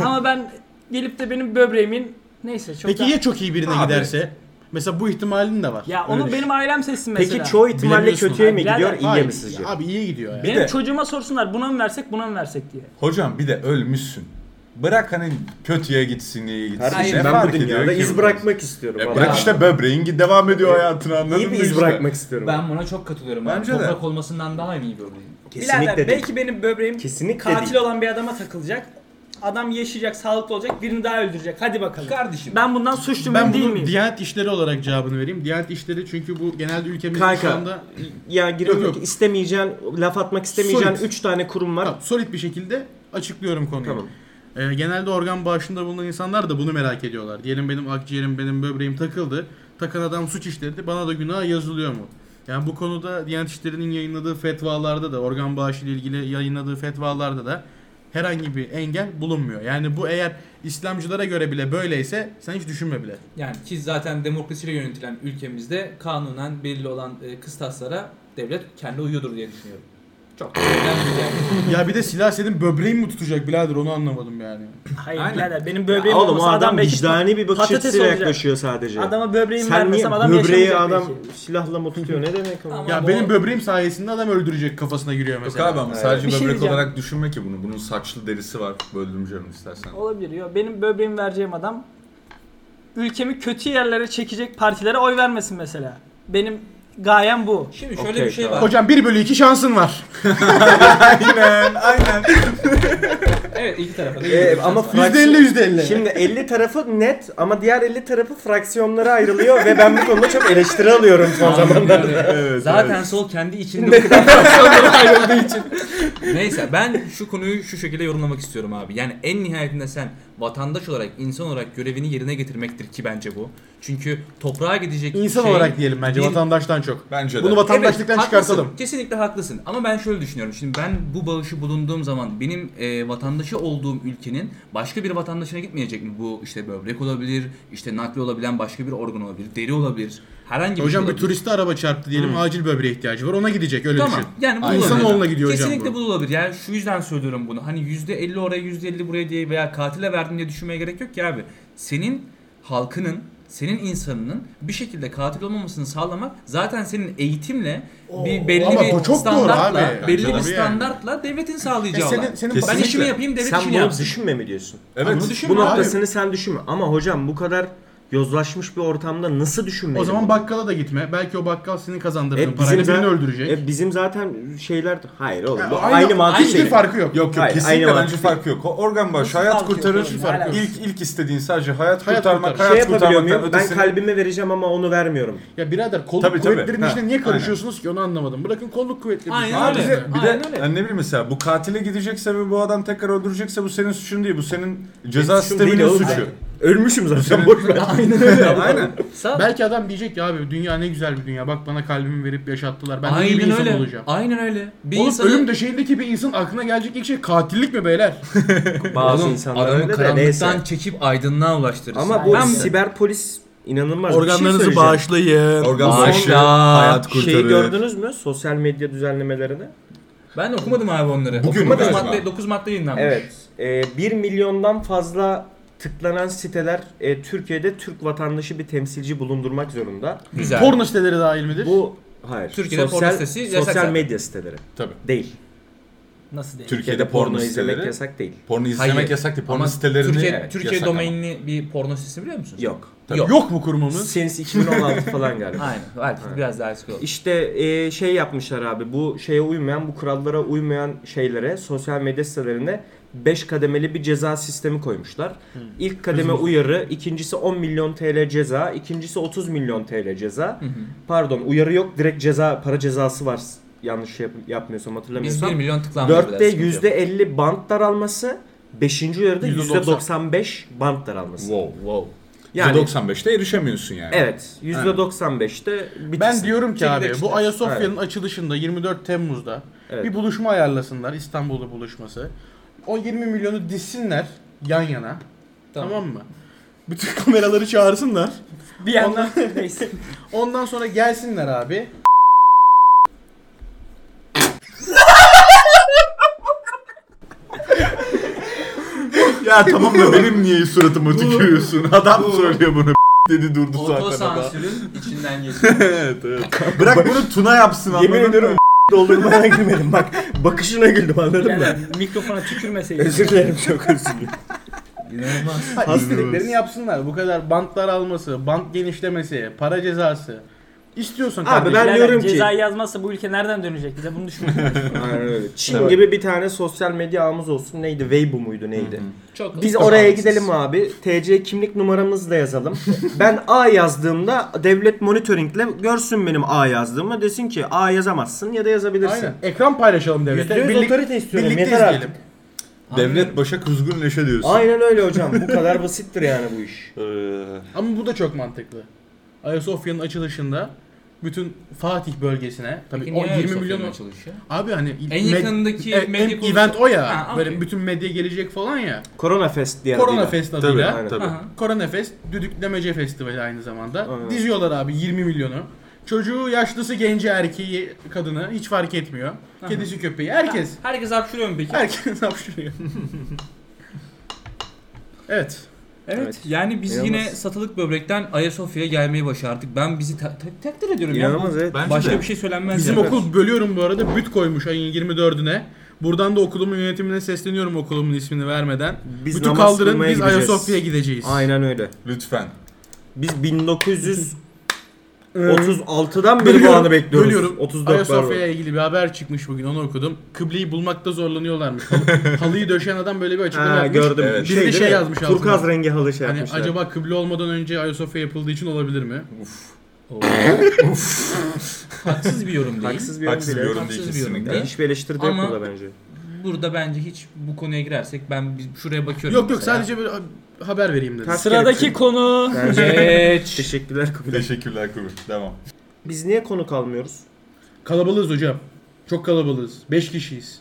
ama ben gelip de benim böbreğimin neyse çok Peki daha- ya çok iyi birine Abi. giderse? Mesela bu ihtimalin de var. Ya Öyle onu düşün. benim ailem seçsin mesela. şey. Peki çoğu ihtimalle Bilemiyorsun. kötüye mi Birader, gidiyor, iyiye Hayır, mi sizce? Abi iyi gidiyor ya. benim de- çocuğuma sorsunlar buna mı versek buna mı versek diye. Hocam bir de ölmüşsün. Bırak hani kötüye gitsin, iyiye gitsin. Kardeşim Ne ben fark bu ediyor dünyada ki iz bu? bırakmak istiyorum. E abi. bırak işte böbreğin git devam ediyor hayatını anladın İyi mı? bir iz işte? bırakmak istiyorum. Ben buna çok katılıyorum. Bence de. Toprak olmasından daha iyi bir örneğim. Kesinlikle Birader, değil. belki benim böbreğim Kesinlikle katil değil. olan bir adama takılacak. Adam yaşayacak, sağlıklı olacak, birini daha öldürecek. Hadi bakalım. Kardeşim. Ben bundan suçlu Ben muyum değil bunu miyim? Diyanet İşleri olarak cevabını vereyim. Diyanet İşleri çünkü bu genelde ülkemizde şu Kanka anda ya Yok, giriyorum yok. ki istemeyeceğin, laf atmak istemeyeceğin Soyut. 3 tane kurum var. Tamam, solit bir şekilde açıklıyorum konuyu. Tamam. Ee, genelde organ bağışında bulunan insanlar da bunu merak ediyorlar. Diyelim benim akciğerim, benim böbreğim takıldı. Takan adam suç işledi. Bana da günah yazılıyor mu? Yani bu konuda Diyanet İşleri'nin yayınladığı fetvalarda da organ bağışı ile ilgili yayınladığı fetvalarda da herhangi bir engel bulunmuyor. Yani bu eğer İslamcılara göre bile böyleyse sen hiç düşünme bile. Yani ki zaten demokrasiyle yönetilen ülkemizde kanunen belirli olan e, kıstaslara devlet kendi uyuyordur diye düşünüyorum. [LAUGHS] Çok önemli yani. ya bir de silah senin böbreğin mi tutacak birader onu anlamadım yani. Hayır Aynen. birader benim böbreğim Oğlum o olmasa adam adam belki vicdani bir bakış patates açısıyla olacak. yaklaşıyor sadece. adama böbreğimi Sen niye vermesem adam böbreği yaşamayacak şey. adam belki. silahla mı tutuyor ne demek o? Ama Ya bu- benim böbreğim sayesinde adam öldürecek kafasına giriyor Yok mesela. abi ama sadece Bir şey böbrek diyeceğim. olarak düşünme ki bunu. Bunun saçlı derisi var. Böldüm canım [LAUGHS] istersen. Olabilir yo. Benim böbreğimi vereceğim adam ülkemi kötü yerlere çekecek partilere oy vermesin mesela. Benim gayem bu. Şimdi şöyle Okey, bir şey tamam. var. Hocam 1 bölü 2 şansın var. aynen aynen. Evet iki tarafa da Ee, yürüyoruz ama aslında. fraksiyon- %50 %50. Şimdi 50 tarafı net ama diğer 50 tarafı fraksiyonlara ayrılıyor ve ben bu konuda çok eleştiri alıyorum son zamanlarda. Evet, Zaten evet. sol kendi [LAUGHS] içinde bu kadar fraksiyonlara ayrıldığı için. Neyse ben şu konuyu şu şekilde yorumlamak istiyorum abi. Yani en nihayetinde sen vatandaş olarak, insan olarak görevini yerine getirmektir ki bence bu. Çünkü toprağa gidecek İnsan şey- olarak diyelim bence Bir- vatandaştan çok. Bence de. Bunu vatandaşlıktan Evet, haklısın. çıkartalım. Kesinlikle haklısın. Ama ben şöyle düşünüyorum. Şimdi ben bu bağışı bulunduğum zaman benim e, vatandaşı olduğum ülkenin başka bir vatandaşına gitmeyecek mi? Bu işte böbrek olabilir, işte nakli olabilen başka bir organ olabilir, deri olabilir. Herhangi bir şey Hocam bir olabilir. turiste araba çarptı diyelim acil böbreğe ihtiyacı var ona gidecek öyle Tamam. düşün. Yani bu Aynen. olabilir. İnsanoğluna gidiyor hocam Kesinlikle bu. bu olabilir. Yani şu yüzden söylüyorum bunu. Hani %50 oraya %50 buraya diye veya katile verdim diye düşünmeye gerek yok ki abi. Senin halkının, senin insanının bir şekilde katil olmamasını sağlamak zaten senin eğitimle bir belli ama bir bu çok doğru standartla, abi. belli Bence bir de. standartla devletin E sağlayacağı senin, olan. senin Kesin. Ben bakış- işimi yapayım, devlet Sen işini bunu yapsın. düşünme mi diyorsun? Evet. Bunu düşünme Bu abi. noktasını sen düşünme ama hocam bu kadar yozlaşmış bir ortamda nasıl düşünmeyelim? o zaman bakkala da gitme. Belki o bakkal senin kazandırdığın E, parayla za- birini öldürecek. E, bizim zaten şeyler hayır oğlum Ya, bu aynı, mantık şey. Hiçbir değil. farkı yok. Yok yok Hayır, kesinlikle aynı bence mantık fark yok. O Organ bağışı hayat Fark yok kurtarır. oğlum, fark hala- yok. İlk ilk istediğin sadece hayat, Hayat kurtarmak, kurtar. Şey hayat yapabiliyor kurtarmaktan muyum? Ben ötesini. kalbimi vereceğim ama onu vermiyorum. Ya birader kolluk Tabii, tabii. kuvvetlerinin Ha, işine niye aynen. karışıyorsunuz ki onu anlamadım. Bırakın kolluk kuvvetleri. Aynen Abi düşünsün. öyle. bize- bir de Aynen öyle. yani ne bileyim mesela bu katile gidecekse ve bu adam tekrar öldürecekse bu senin suçun değil. Bu senin ceza Suçum değil sisteminin oğlum. suçu. Ölmüşüm zaten boş ver. Aynen öyle. Aynen. Sağ- Belki adam diyecek ki abi dünya ne güzel bir dünya. Bak bana kalbimi verip yaşattılar. Ben iyi bir Aynen insan öyle. olacağım. Aynen öyle. Bir Oğlum insanı- ölüm döşeğindeki bir insan aklına gelecek ilk şey katillik mi beyler? Bazı Oğlum, insanlar adamı öyle de neyse. karanlıktan çekip aydınlığa ulaştırırsın. Ama bu Ben- siber polis inanılmaz. Bir şey Organlarınızı söyleyeceğim. bağışlayın. Organ Maaşla bağışı hayat kurtarır. Şeyi gördünüz mü? Sosyal medya düzenlemelerini. Ben okumadım abi onları. Bugün mü 9 galiba? madde, 9 madde yayınlanmış. Evet. E, 1 milyondan fazla tıklanan siteler e, Türkiye'de Türk vatandaşı bir temsilci bulundurmak zorunda. Güzel. Porno siteleri dahil midir? Bu hayır. Türkiye'de porno sitesi yasak sosyal zaten. medya siteleri Tabii. değil. Nasıl değil? Türkiye'de porno izlemek siteleri. yasak değil. Porno izlemek Hayır. yasak değil. Porno Ama sitelerini Türkiye, Evet, Türkiye yasak ama. domainli bir porno sitesi biliyor musunuz? Yok. Yok. Yok mu kurumumuz? Since 2016 [LAUGHS] falan galiba. Aynen. Belki biraz daha eski oldu. İşte e, şey yapmışlar abi bu şeye uymayan bu kurallara uymayan şeylere sosyal medya sitelerine 5 kademeli bir ceza sistemi koymuşlar. İlk kademe uyarı, ikincisi 10 milyon TL ceza, ikincisi 30 milyon TL ceza. Pardon uyarı yok direkt ceza para cezası var s- yanlış şey yap- yapmıyorsam Biz 1 hatırlamıyorsam. milyon tıklanmıyor. biraz, Dörtte sıkıntı yok. %50 bant daralması, 5. uyarıda %90. %95 bant daralması. Wow. wow. Yani- %95'te erişemiyorsun yani. Evet. %95'te bitirsin. Ben diyorum ki abi Çekirdek bu çıtarsın. Ayasofya'nın Evet. açılışında 24 Temmuz'da Evet. bir buluşma ayarlasınlar. İstanbul'da buluşması. O 20 milyonu dizsinler yan yana. Tamam, mı? Bütün [LAUGHS] kameraları çağırsınlar. Bir yandan [LAUGHS] Ondan sonra gelsinler abi. Ya tamam [LAUGHS] da benim niye suratıma [LAUGHS] tükürüyorsun? Adam söylüyor bunu [LAUGHS] dedi durdu zaten adam. [LAUGHS] Otosansürün içinden geçiyor. [LAUGHS] evet evet. Bırak bunu Tuna yapsın anladın Yemin mı? ediyorum doldurmaya girmedim bak. Bakışına güldüm anladın [LAUGHS] mı? yani [LAUGHS] mikrofona tükürmeseydin. Özür dilerim çok özür dilerim. İnanılmaz. İstediklerini yapsınlar. Bu kadar bantlar alması, bant genişlemesi, para cezası. İstiyorsan Abi [LAUGHS] kardeşim. ben Birader, diyorum ki Cezayı yazmazsa bu ülke nereden dönecek? Bize bunu düşünün. Aynen öyle. Çin gibi bir tane sosyal medya ağımız olsun. Neydi? Weibo muydu neydi? Çok Biz oraya gidelim abi. TC kimlik numaramızı da yazalım. ben A yazdığımda devlet monitoringle görsün benim A yazdığımı. Desin ki A yazamazsın ya da yazabilirsin. Aynen. Ekran paylaşalım devlete. Yüzde yüz Birlik- otorite istiyorum. Birlikte Yeter izleyelim. artık. Devlet başa kuzgun leşe diyorsun. Aynen öyle hocam. Bu kadar basittir yani bu [LAUGHS] iş. Ee, Ama bu da çok mantıklı. Ayasofya'nın açılışında bütün Fatih bölgesine tabii Peki o niye 20 20 milyon Hani milyon çalışıyor? abi hani En med- yakınındaki e- medya em- kuruluşu- event o ya. Ha, böyle okey. bütün medya gelecek falan ya. Korona Fest diye Korona adıyla. Fest tabii adıyla. Aynen. tabii. Aha. Korona Fest düdüklemece festivali aynı zamanda. Aynen. Diziyorlar abi 20 milyonu. Çocuğu, yaşlısı, genci, erkeği, kadını hiç fark etmiyor. Kedisi, köpeği herkes. Herkes hapşırıyor mu peki? [LAUGHS] Herkes [LAUGHS] hapşırıyor. evet. Evet, Evet. yani biz İnanılmaz. yine satılık böbrekten Ayasofya'ya gelmeyi başardık. Ben bizi ta- ta- takdir ediyorum İnanılmaz ya. evet. Bence Başka de. bir şey söylenmez. Bizim yani. okul bölüyorum bu arada büt koymuş ayın 24'üne. Buradan da okulumun yönetimine sesleniyorum okulumun ismini vermeden. Biz Bütü namaz kaldırın kılmaya biz gideceğiz. Ayasofya'ya gideceğiz. Aynen öyle. Lütfen. Biz 1936'dan beri bu Bölüyorum, anı bekliyoruz. Bölüyorum. 34 pardon. Ayasofya'ya ilgili bir haber çıkmış bugün onu okudum. Kıbleyi bulmakta zorlanıyorlarmış. [LAUGHS] Halı- Halıyı döşeyen adam böyle bir açıklama Ha yapmış. gördüm. Evet. Bir de şey değil mi? yazmış altına. Turkuaz rengi halı şey Hani yapmışlar. acaba kıble olmadan önce Ayasofya yapıldığı için olabilir mi? Haksız bir yorum değil. Haksız bir Haksız yorum değil. Haksız bir yorum değil bir yorum kesinlikle. değil. Hiçbir eleştiri de yok Ama- burada bence. Burada bence hiç bu konuya girersek ben bir- şuraya bakıyorum. Yok yok mesela. sadece böyle haber vereyim dedim. Ters Sıradaki kelepçe. konu. Bence. Geç. Teşekkürler Kubilay. Teşekkürler Kubur. Devam. Biz niye konuk almıyoruz? Kalabalığız hocam. Çok kalabalığız. 5 kişiyiz.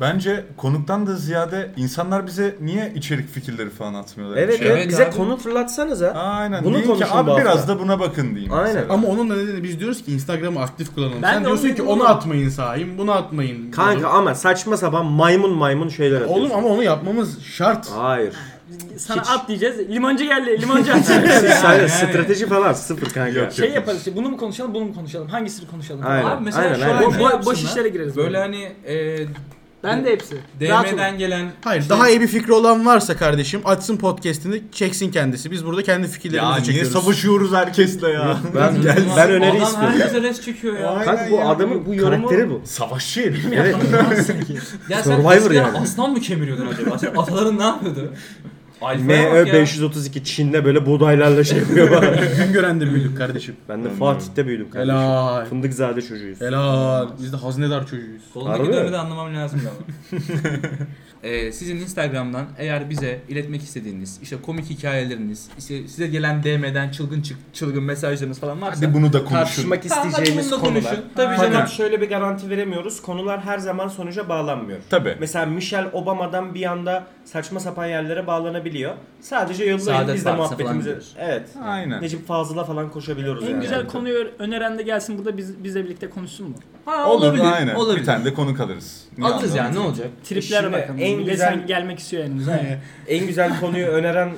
Bence konuktan da ziyade insanlar bize niye içerik fikirleri falan atmıyorlar? Evet, Şey- evet, Evet bize abi. konu fırlatsanıza. Aynen. Bunu Bunu ki konuşun bu abi hafta." biraz da buna bakın diyeyim. Aynen. mesela. Ama onun da nedeni biz diyoruz ki Instagram'ı aktif kullanalım. Ben Sen de diyorsun onu ki diyorum. onu atmayın sahim, bunu atmayın. Kanka ama saçma sapan maymun maymun şeyler Oğlum, atıyorsun. Oğlum ama onu yapmamız şart. Hayır. [LAUGHS] Sana Hiç. at diyeceğiz. Limancı geldi. Limancı [LAUGHS] at. Siz Yani, yani. strateji falan sıfır kanka. Yok, şey yaparız. işte, Bunu mu konuşalım, bunu mu konuşalım? Hangisini konuşalım? Aynen. Abi mesela aynen, şu aynen. an Bo- şey bo- boş yapsınlar. işlere gireriz. Böyle hani e, Ben de hepsi. Rahat olun. DM'den gelen şey- Hayır, daha iyi bir fikri olan varsa kardeşim açsın podcast'ini, çeksin kendisi. Biz burada kendi fikirlerimizi Ya niye çekiyoruz. [LAUGHS] savaşıyoruz herkesle ya? Ben, ben, Ulan ben öneri adam istiyorum. herkese res çekiyor ya. Kanka bu adamın bu karakteri bu. Savaşçı herif. Evet. [LAUGHS] ya Survivor eskiden yani. Aslan mı kemiriyordun acaba? Sen ataların ne yapıyordu? Alfa'ya bak MÖ ya. 532 Çin'de böyle buğdaylarla şey yapıyor bana. Güngören'de büyüdük kardeşim. ben de Fatih'te büyüdüm kardeşim. Helal. Fındıkzade çocuğuyuz. Helal. Biz de hazinedar çocuğuyuz. Solundaki Harbi dönemi mi? de anlamam lazım ama. [LAUGHS] Ee, sizin Instagram'dan eğer bize iletmek istediğiniz işte komik hikayeleriniz, işte size gelen DM'den çılgın çık- çılgın mesajlarınız falan varsa [LAUGHS] Hadi bunu da konuşun. Tartışmak isteyeceğimiz Tamam, bak bunu da konular. konuşun. Tabii Aynen. canım şöyle bir garanti veremiyoruz. Konular her zaman sonuca bağlanmıyor. Tabii. Mesela Michelle Obama'dan bir anda saçma sapan yerlere bağlanabiliyor. Sadece yollayın Saadet Partisi biz de falan muhabbetimizi. gidiyoruz. Evet. Aynen. Necip Fazıl'a falan koşabiliyoruz En yani. güzel konuyu ö- öneren de gelsin burada biz, bizle birlikte konuşsun mu? ha, Olur, olabilir, aynen. olabilir. Bir tane de konuk alırız. Ne Alırız anlamı? yani ne olacak? Triplere Şimdi bakalım. en En güzel- gelmek istiyor yanımıza. En güzel konuyu öneren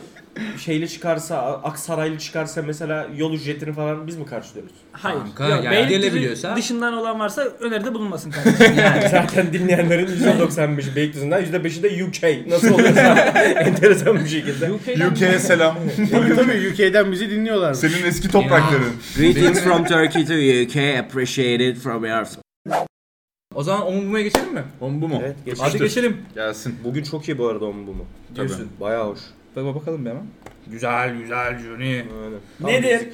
şeyli çıkarsa, Aksaraylı çıkarsa mesela yol ücretini falan biz mi karşılıyoruz? Hayır. Kanka, Yok, yani Beylikdüzü gelebiliyorsa- Dışından olan varsa öneride bulunmasın kardeşim. [LAUGHS] Zaten dinleyenlerin %95'i Beylikdüzü'nden %5'i de UK. Nasıl oluyorsa [LAUGHS] enteresan bir şekilde. [LAUGHS] UK'ye selam. tabii tabii UK'den bizi dinliyorlar. Senin eski toprakların. Greetings from Turkey to UK, appreciated from your O zaman omurumaya geçelim mi? Oğlum bu mu? Evet, geçti. Hadi geçelim. Gelsin. Bugün çok iyi bu arada onun bu mu? Diyorsun. Bayağı hoş. Bak bakalım bir hemen. Güzel güzel Johnny. Nedir?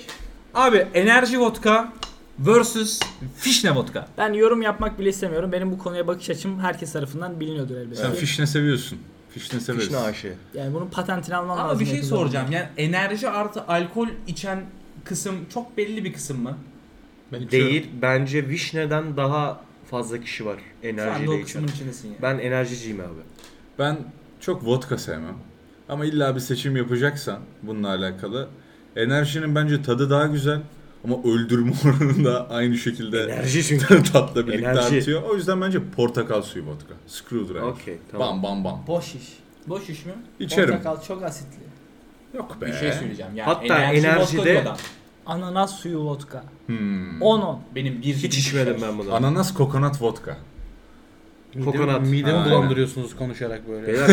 Abi enerji vodka versus fişne vodka. ben yorum yapmak bile istemiyorum. Benim bu konuya bakış açım herkes tarafından biliniyordur elbette. Sen fişne seviyorsun. Fişne severiz. Fişne aşığı. Yani bunun patentini alman lazım. Ama bir şey yakın zamanda. soracağım. Yani enerji artı alkol içen kısım çok belli bir kısım mı? Ben içiyorum. Değil. Bence Vişne'den daha fazla kişi var Sen de enerjiyle o kısmın içen. içindesin yani. Ben enerjiciyim abi. Ben çok vodka sevmem. Ama illa bir seçim yapacaksan bununla alakalı. Enerjinin bence tadı daha güzel. Ama öldürme [LAUGHS] oranı da aynı şekilde Enerji çünkü. [LAUGHS] tatla birlikte Enerji. artıyor. O yüzden bence portakal suyu vodka. Screwdriver. Okey tamam. Bam bam bam. Boş iş. Boş iş mi? İçerim. Portakal çok asitli. Yok be. Bir şey söyleyeceğim. Yani Hatta enerji enerjide- vodka diyor adam. Ananas suyu vodka. Hmm. 10-10. Benim bir şey. Hiç içmedim ben bunu. Ananas kokonat vodka. Kokonat. Midemi, midemi Aynen. bulandırıyorsunuz konuşarak böyle. Beyler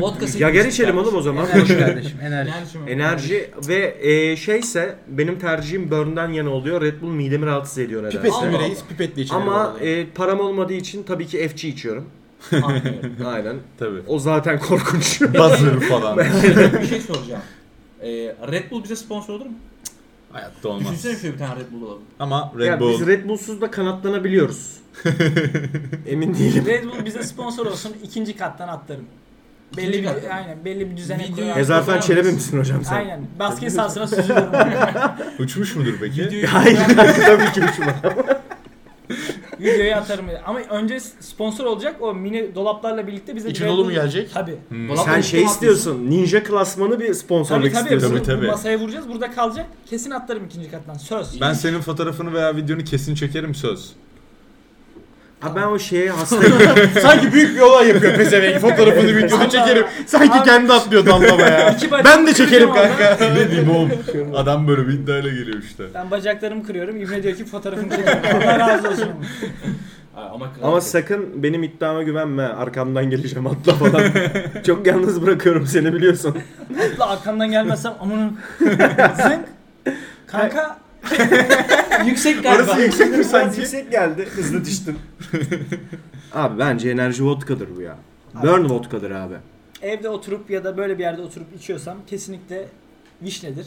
Vodka ya gel içelim oğlum o zaman. Enerji kardeşim enerji. Enerji mi? Enerji ve e, şeyse benim tercihim Burn'dan yana oluyor. Red Bull midemi rahatsız ediyor Pipetli nedense. mi reis pipetle içelim. Ama Ama e, param olmadığı için tabii ki FC içiyorum. [LAUGHS] Anlıyorum. Aynen. Tabii. O zaten korkunç. Buzzer falan. [LAUGHS] bir şey soracağım. Ee, Red Bull bize sponsor olur mu? Hayatta olmaz. Düşünsene şöyle bir tane Red Bull alalım. Ama ya Red Bull biz Red Bull'suz da kanatlanabiliyoruz. Emin [LAUGHS] değilim. Red Bull bize sponsor olsun ikinci kattan atlarım. İkinci Belli kattan. bir, aynen, belli bir düzene Videoyu- koyarım. E zaten Çelebi misin hocam sen? Aynen. Basket sahasına süzülürüm. uçmuş mudur peki? Videoyu Hayır tabii ki uçma. Videoyu atarım. Ama önce sponsor olacak o mini dolaplarla birlikte bize İçin Red dolu mu Bull- gelecek? Tabii. Dolapta Sen bir şey şey istiyorsun. Ninja klasmanı bir Tabii sponsorluk tabii. istiyorsun. Bunu, Tabii, tabii. bu masaya vuracağız. Burada kalacak. Kesin atlarım ikinci kattan. Söz. Ben senin fotoğrafını veya videonu kesin çekerim söz. Ha ben o şeye hastayım. Sanki büyük bir olay yapıyor pezevenk. [LAUGHS] Fotoğrafını videonu çekerim. Sanki kendi atlıyor dallama ya. İki bacak Ben de kırdım çekerim ama. kanka. ne diyeyim oğlum? Adam böyle bir iddiayla geliyor işte. Ben bacaklarımı kırıyorum. İbne diyor ki fotoğrafını çekelim. Allah razı olsun. [LAUGHS] Ha, ama kral- Ama sakın benim iddiama güvenme. Arkamdan geleceğim atla [LAUGHS] falan. Çok yalnız bırakıyorum seni [LAUGHS] biliyorsun. Atla arkamdan gelmezsem [LAUGHS] amanın. Zınk. Kanka [LAUGHS] yüksek galiba. yüksek mi sanki? yüksek geldi. Hızlı [LAUGHS] düştüm. abi bence enerji vodkadır bu ya. Burn vodkadır abi. evde oturup ya da böyle bir yerde oturup içiyorsam kesinlikle vişnedir.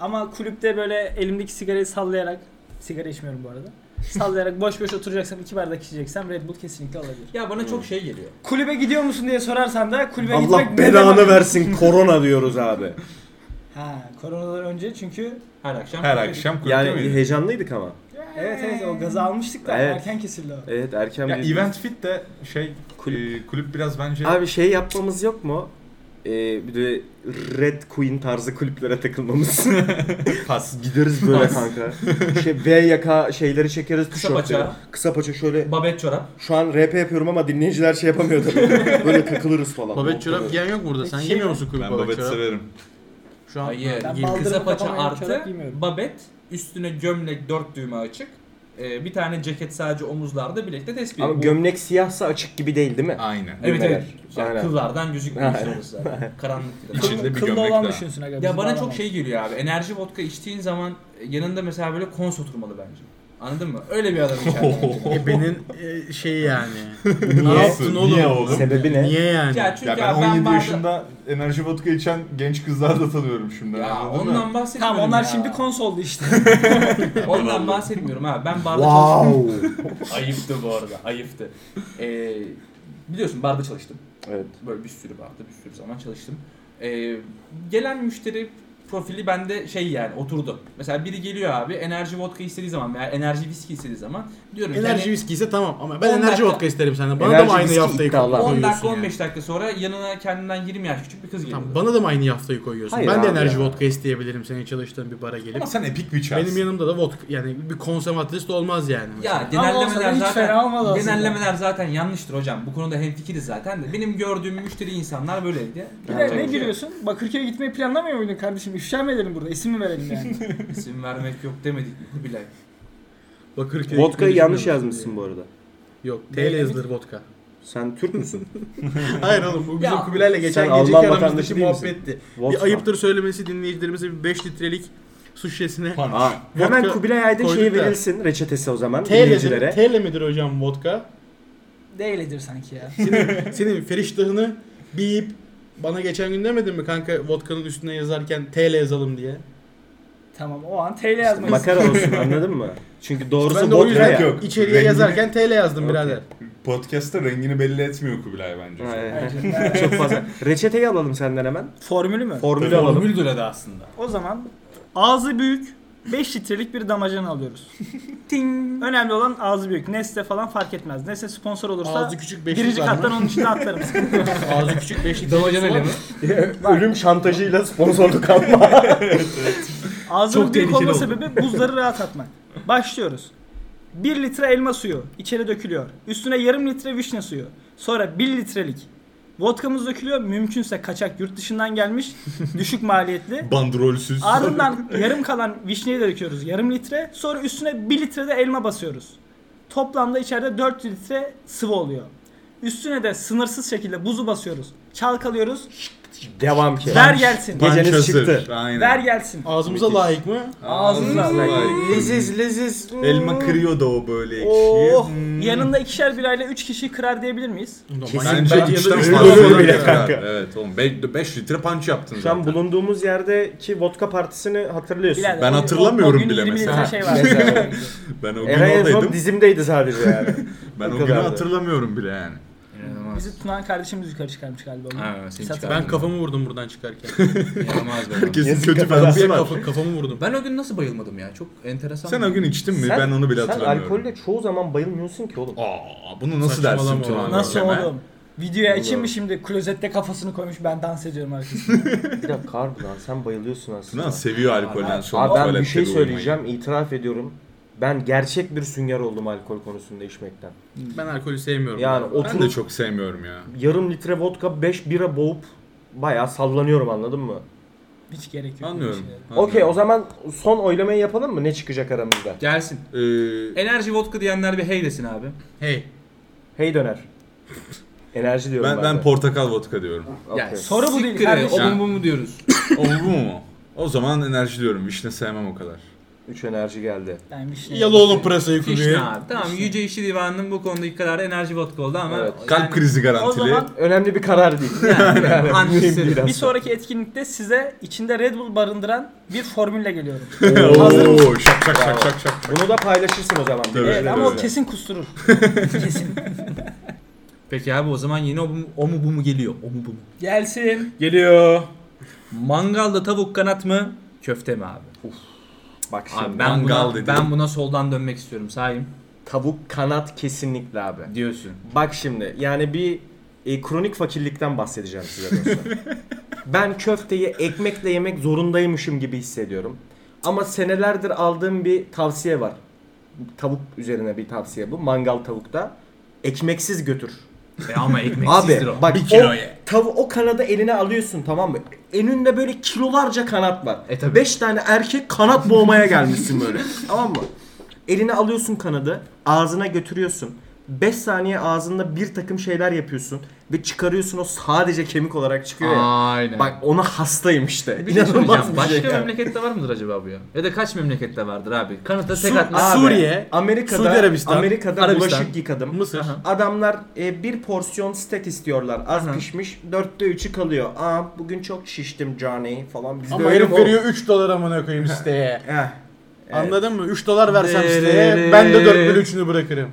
Ama kulüpte böyle elimdeki sigarayı sallayarak sigara içmiyorum bu arada. [LAUGHS] Sallayarak boş boş oturacaksam iki bardak içeceksem Red Bull kesinlikle olabilir. Ya bana çok şey geliyor. Kulübe gidiyor musun diye sorarsan da kulübe Allah gitmek belanı versin korona diyoruz abi. Ha, koronadan önce çünkü Her akşam. Her akşam kulüpte Yani miydi? heyecanlıydık ama. evet evet o gazı almıştık da Evet. erken kesildi o. Evet erken Ya bir- Event Fit de şey kulüp, kulüp biraz bence Abi şey yapmamız yok mu? Ee, bir de Red Queen tarzı kulüplere takılmamız. pas. Gideriz böyle kanka. Şey V yaka şeyleri çekeriz Kısa tişörtleri. paça. Kısa paça şöyle. Babet çorap. Şu an RP yapıyorum ama dinleyiciler şey yapamıyor tabii. böyle takılırız falan. Babet çorap giyen yok burada. Sen Şey- yemiyor musun kulüp Ben babet babet çorap? severim. Şu an Hayır. Ben Kısa baldırımı paça kapamayan çorap artı giymiyorum. babet. Üstüne gömlek dört düğme açık. Ee, bir tane ceket sadece omuzlarda bilekte tespih. Ama Bu- gömlek siyahsa açık gibi değil değil mi? Aynen. Evet evet. Aynen. Yani kıllardan gözükmüyor Aynen. orası zaten. Karanlık bir de. İçinde bir Kıllı gömlek olan daha. düşünsün aga. Ya bizim bana çok bağlamamız. şey geliyor abi. Enerji vodka içtiğin zaman e, yanında mesela böyle kons oturmalı bence. Anladın mı? Öyle bir adam içeride. [LAUGHS] Ebenin e, şeyi yani. Niye? ne yaptın oğlum? Niye oğlum? Sebebi ne? Niye yani? ya çünkü Ya ben abi 17 bazen- yaşında enerji vodka içen genç kızlar da tanıyorum şimdi. Ya anladın mı? ondan bahsetmiyorum Tamam onlar ya. şimdi konsoldu işte. Ondan bahsetmiyorum abi. Ben barda çalıştım. Wow. Ayıptı bu arada. Ayıptı. Ee, biliyorsun barda çalıştım. evet. Böyle bir sürü barda bir sürü zaman çalıştım. Ee, gelen müşteri profili bende şey yani oturdu. Mesela biri geliyor abi enerji vodka istediği zaman veya enerji viski istediği zaman diyorum ki Enerji hani viski ise tamam ama ben On enerji dakika. vodka isterim senden. Bana Enerji da mı aynı viski yaftayı iddialar. koyuyorsun? 10 dakika yani? 15 dakika sonra yanına kendinden 20 yaş küçük bir kız geliyor. Tamam, bana da mı aynı yaftayı koyuyorsun? Hayır ben de abi enerji ya. vodka isteyebilirim senin çalıştığın bir bara gelip. Ama sen epik bir çarsın. Benim yanımda da vodka yani bir konservatrist olmaz yani. Ya Ama olsa da genellemeler hiç zaten fena olmadı aslında. genellemeler zaten yanlıştır hocam. Bu konuda hemfikiriz zaten de. Benim gördüğüm müşteri insanlar böyleydi. Bir de Yapacak ne bir şey yok. giriyorsun? Bakırköy'e gitmeyi planlamıyor muydun kardeşim? İfşa mı edelim burada? İsim mi verelim yani? İsim vermek yok demedik mi Kubilay? Bakırköy Vodka'yı yanlış yazmışsın bu arada. Yok, TL yazılır vodka. Sen Türk [LAUGHS] müsün? Hayır oğlum bu bizim Ya, Kubilay'la geçen sen geceki Alman vatandaşı aramızdaki değil misin? muhabbetti. Bir Vodka. ayıptır söylemesi dinleyicilerimize bir 5 litrelik su şişesine [LAUGHS] Punch. Aa, hemen Vodka Kubilay Aydın şeyi koyduk da. verilsin reçetesi o zaman TL, dinleyicilere. TL midir hocam vodka? Değildir sanki ya. Senin feriştahını bip bana geçen gün demedin mi kanka vodkanın üstüne yazarken TL yazalım diye. Tamam o an TL yazmak Makara olsun anladın mı? Çünkü doğrusu Ben de o bot yüzden ya. yok. içeriye Rengini- yazarken TL yazdım birader. Podcast'ta rengini belli etmiyor Kubilay bence. şu an. Aynen. Çok fazla. Reçeteyi alalım senden hemen. Formülü mü? Formülü alalım. Formül de aslında. O zaman ağzı büyük 5 litrelik bir damacan alıyoruz. Ting. Önemli olan ağzı büyük. Nesle falan fark etmez. Nesle sponsor olursa Ağzı küçük beşlik birinci var [LAUGHS] kattan mı? onun içine atlarım. Ağzı küçük beşlik. Damacan eli mi? Ölüm şantajıyla sponsorluk alma. Ağzının Çok büyük tehlikeli oldu. olma sebebi buzları rahat atmak. Başlıyoruz. 1 litre elma suyu içeri dökülüyor. Üstüne yarım litre vişne suyu. Sonra 1 litrelik vodkamız dökülüyor. Mümkünse kaçak yurt dışından gelmiş. düşük maliyetli. Bandrolsüz. Ardından yarım kalan vişneyi de döküyoruz yarım litre. Sonra üstüne 1 litre de elma basıyoruz. Toplamda içeride 4 litre sıvı oluyor. Üstüne de sınırsız şekilde buzu basıyoruz. Çalkalıyoruz. Devam ki. Ver gelsin. Gel- Geceniz Geceniz çıktı. çıktı. Aynen. Ver gelsin. Ağzımıza layık mı? Ağzına layık. Leziz leziz. Elma kırıyor da o böyle ekşi. Oh. Hmm. Yanında ikişer birayla 3 kişi kırar diyebilir miyiz? Bence Ben içten yanında- fazla Ölür da bile yakar. kanka. Evet oğlum 5 litre punch yaptın Şu an zaten. bulunduğumuz yerdeki vodka partisini hatırlıyorsun. Birader, Ben o- o- hatırlamıyorum o gün bile 20 litre mesela. Şey var. Ben o gün Eray en son oradaydım. dizimdeydi sadece yani. Ben o o günü kadardı. hatırlamıyorum bile yani. İnanılmaz. Bizi Tunan kardeşimiz yukarı çıkarmış galiba. onu. Ha, seni Satın- çıkardın. Ben kafamı vurdum buradan çıkarken. İnanılmaz be. Herkesin Yazık kötü kafana. belası Kapıya var. kafa, kafamı vurdum. Ben o gün nasıl bayılmadım ya? Çok enteresan. Sen o gün içtin mi? Sen- ben onu bile Sen hatırlamıyorum. alkolle çoğu zaman bayılmıyorsun ki oğlum. Aa, bunu nasıl Saçmalama dersin oğlum. Turan? Nasıl Görkem'e? oğlum? Videoya açayım mı şimdi? Klozette kafasını koymuş ben dans ediyorum arkasında. Bir dakika harbi lan sen bayılıyorsun aslında. Turan seviyor alkolden sonra. Abi ben bir tuvalette şey uyumayı. söyleyeceğim itiraf ediyorum. Ben gerçek bir sünger oldum alkol konusunda içmekten. Ben alkolü sevmiyorum. Yani Ben de oturup çok sevmiyorum ya. yarım litre vodka 5 bira boğup bayağı sallanıyorum anladın mı? Hiç gerek yok. Anlıyorum. Okey o zaman son oylamayı yapalım mı? Ne çıkacak aramızda? Gelsin. Ee, Enerji vodka diyenler bir hey desin abi. Hey. Hey [LAUGHS] döner. Enerji diyorum ben, ben de. portakal vodka diyorum. Okey. Yani Soru bu değil siktir kardeşim. O mu bu mu diyoruz. o bu mu? O zaman enerji diyorum. Vişne sevmem o kadar. Üç enerji geldi. Ben bir şey Yalı oğlum pırasayı Fişne kuruyor. abi. Tamam Yüce İşçi Divanı'nın bu konudaki kararı enerji vodka oldu ama Evet. Kalp krizi O garantili. zaman Önemli bir karar [LAUGHS] değil. Yani, Yani antiseri. biraz. bir sonraki etkinlikte size içinde Red Bull barındıran bir [LAUGHS] formülle geliyorum. Oo, şak şak şak şak şak. Bunu da paylaşırsın o zaman. Tabii. evet, ama o öyle. [LAUGHS] kesin kusturur. kesin. Peki abi o zaman yeni o, mu- o mu bu mu geliyor. O mu bu mu? Gelsin. Geliyor. Mangalda tavuk kanat mı? Köfte mi abi? Bak şimdi Abi ben mangal buna, dedi. ben buna soldan dönmek istiyorum sahim. tavuk kanat kesinlikle abi. Diyorsun. Bak şimdi yani bir e, kronik fakirlikten bahsedeceğim size dostlar. ben köfteyi ekmekle yemek zorundaymışım gibi hissediyorum. Ama senelerdir aldığım bir tavsiye var. Tavuk üzerine bir tavsiye bu. Mangal tavukta. Ekmeksiz götür. E ama ekmeksizdir Abi o. bak Bir kilo o, ye. tavu, o kanadı eline alıyorsun tamam mı? Önünde böyle kilolarca kanat var. E tabii. Beş tane erkek kanat boğmaya gelmişsin [LAUGHS] böyle. tamam mı? Eline alıyorsun kanadı, ağzına götürüyorsun. 5 saniye ağzında bir takım şeyler yapıyorsun ve çıkarıyorsun o sadece kemik olarak çıkıyor ya. Aynen. Bak ona hastayım işte. Bir şey İnanılmaz söyleyeceğim. bir Başka şey yani. memlekette var mıdır acaba bu ya? Ya da kaç memlekette vardır abi? Kanıta tek Su- atma. Abi, Suriye, Amerika'da, Suudi Arabistan, Amerika'da Arabistan. bulaşık yıkadım. Mısır. Adamlar e, bir porsiyon steak istiyorlar. Az pişmiş. Dörtte üçü kalıyor. Aa bugün çok şiştim Johnny falan. Bizde Ama öyle herif mi? veriyor 3 dolar amına [LAUGHS] koyayım siteye. Heh. Anladın mı? 3 dolar versem Dere- siteye ben de 4 bölü 3'ünü bırakırım.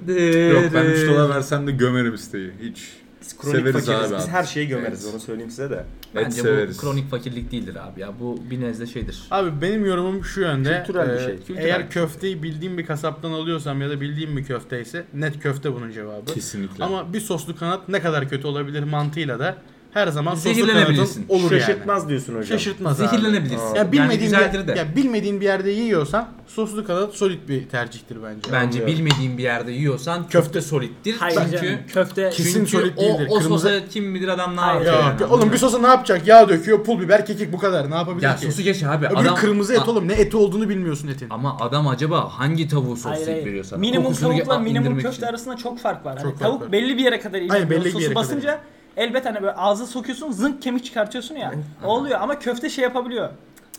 Yok ben 3 dolar versem de gömerim isteği. Hiç. Biz kronik Severiz fakiriz. abi Biz abi. her şeyi gömeriz. Evet. Onu söyleyeyim size de. et Bence bu severiz. kronik fakirlik değildir abi ya. Bu bir nezle şeydir. Abi benim yorumum şu yönde. Kültürel bir Ee, şey. Kültürel bir şey. Eğer köfteyi bildiğim bir kasaptan alıyorsam ya da bildiğim bir köfteyse net köfte bunun cevabı. Kesinlikle. Ama bir soslu kanat ne kadar kötü olabilir mantığıyla da her zaman soslu kanatın Zehirlenebilirsin. olur yani. Şaşırtmaz diyorsun hocam. Şaşırtmaz. Zehirlenebilir. Zehirlenebilirsin. Ya yani bilmediğin, güzeldir de. bir, ya bilmediğin bir yerde yiyorsan soslu kanat solid bir tercihtir bence. Bence Anlıyorum. bilmediğin bir yerde yiyorsan köfte solittir. Hayır Çünkü canım. Köfte. Kesin solid o, değildir. o Kırmızı- sosa kim bilir adam ne Hayır. yapıyor. Ya, yani, oğlum bir sosa ne yapacak? Yağ döküyor, pul biber, kekik bu kadar. Ne yapabilir ya ki? sosu geç abi. Öbürü adam, kırmızı et A- oğlum. Ne eti olduğunu bilmiyorsun etin. Ama adam acaba hangi tavuğu Hayır, soslayıp hayır. veriyor sana? Minimum Kokusunu ge- tavukla a- minimum indirmek köfte için. arasında çok fark var. Hani Çok fark tavuk var. belli bir yere kadar iyi. Aynen, belli bir Sosu yere kadar basınca elbet hani böyle ağzı sokuyorsun zınk kemik çıkartıyorsun ya. O oluyor ama köfte şey yapabiliyor.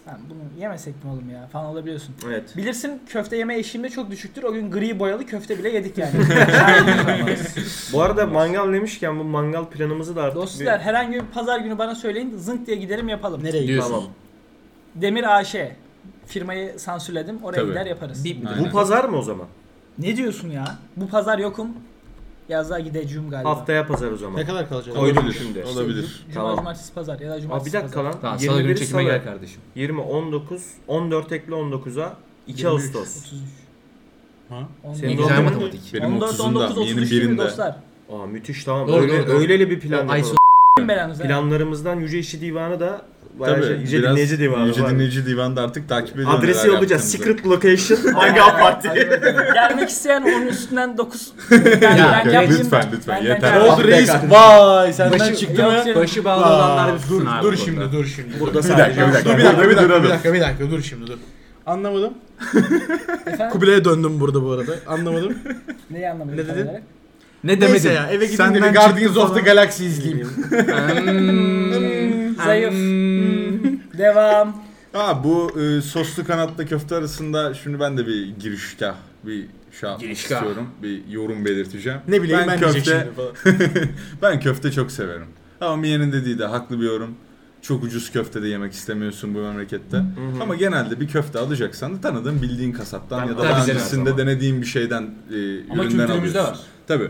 Lan bunu yemesek mi oğlum ya falan olabiliyorsun. Evet. Bilirsin köfte yeme eşiğim de çok düşüktür. O gün gri boyalı köfte bile [LAUGHS] yedik yani. şey. Bu arada mangal demişken bu mangal planımızı da artık Dostlar bir- herhangi bir pazar günü bana söyleyin zınk diye gidelim yapalım. Nereye Diyorsun. Tamam. Demir AŞ. firmayı sansürledim. Oraya Tabii. gider yaparız. Bip. Aynen. Bu pazar mı o zaman? Ne diyorsun ya? Bu pazar yokum. Yazlığa gideceğim galiba. Haftaya pazar o zaman. Ne kadar kalacak? Koydum Olabilir, şimdi. Olabilir. Cuma, Tamam. cumartesi, pazar ya da Aa, bir cumartesi, dakika lan. Tamam salı 21 günü çekime salı. gel kardeşim. 20, 19, 14 ekle 19'a 2 Ağustos. 33. Ha? On- Senin Ne doğum güzel günün- matematik. Benim 14, 30'unda, 19, 33 yeğenim gibi birinde. dostlar. Aa müthiş tamam. Doğru, öyle, doğru, doğru. Öyleli bir plan Ay, yapalım. so- Kim belanızı? Planlarımızdan Yüce İşçi Divanı da bayağı şey, Tabii, Yüce biraz Dinleyici Divanı Yüce var. Dinleyici Divanı'nda artık takip ediyorum. Adresi neler yollayacağız. yaptığınızı. Secret location. Hangi parti? Gelmek isteyen onun üstünden 9. Yani ben Yok, gelmeyeyim. Lütfen lütfen Ben- yeter. ben- Ne oldu reis? Vay senden Başı- çıktı Yok, mı? şey- Başı bağlı Aa, olanlar bir dur, tutsun abi dur bu şimdi konuda. dur şimdi. Burada Bir dakika sadece. bir dakika. Dur bir dakika bir dakika duralım. bir dakika bir dakika dur şimdi dur. Anlamadım. Efendim? Kubilay'a döndüm burada bu arada. Anlamadım. Neyi anlamadım? Ne tam dedin? olarak? Ne demedin? [LAUGHS] Neyse ya eve gidince Senden bir Guardians çıktı of the falan. Galaxy izleyeyim. Hmm, Zayıf. hmm. Devam. Ha bu e, soslu kanatla köfte arasında şimdi ben de bir girişkah bir şey yapmak Girişkah. istiyorum. Bir yorum belirteceğim. ne bileyim ben, diyecek köfte şimdi falan. ben köfte çok severim. Ama Miye'nin dediği de haklı bir yorum. Çok ucuz köfte de yemek istemiyorsun bu memlekette. Ama genelde bir köfte alacaksan da tanıdığın bildiğin kasaptan ya da tabii daha canım. öncesinde denediğin bir şeyden e, Ama üründen kültürümüzde alıyorsun. var. Tabii.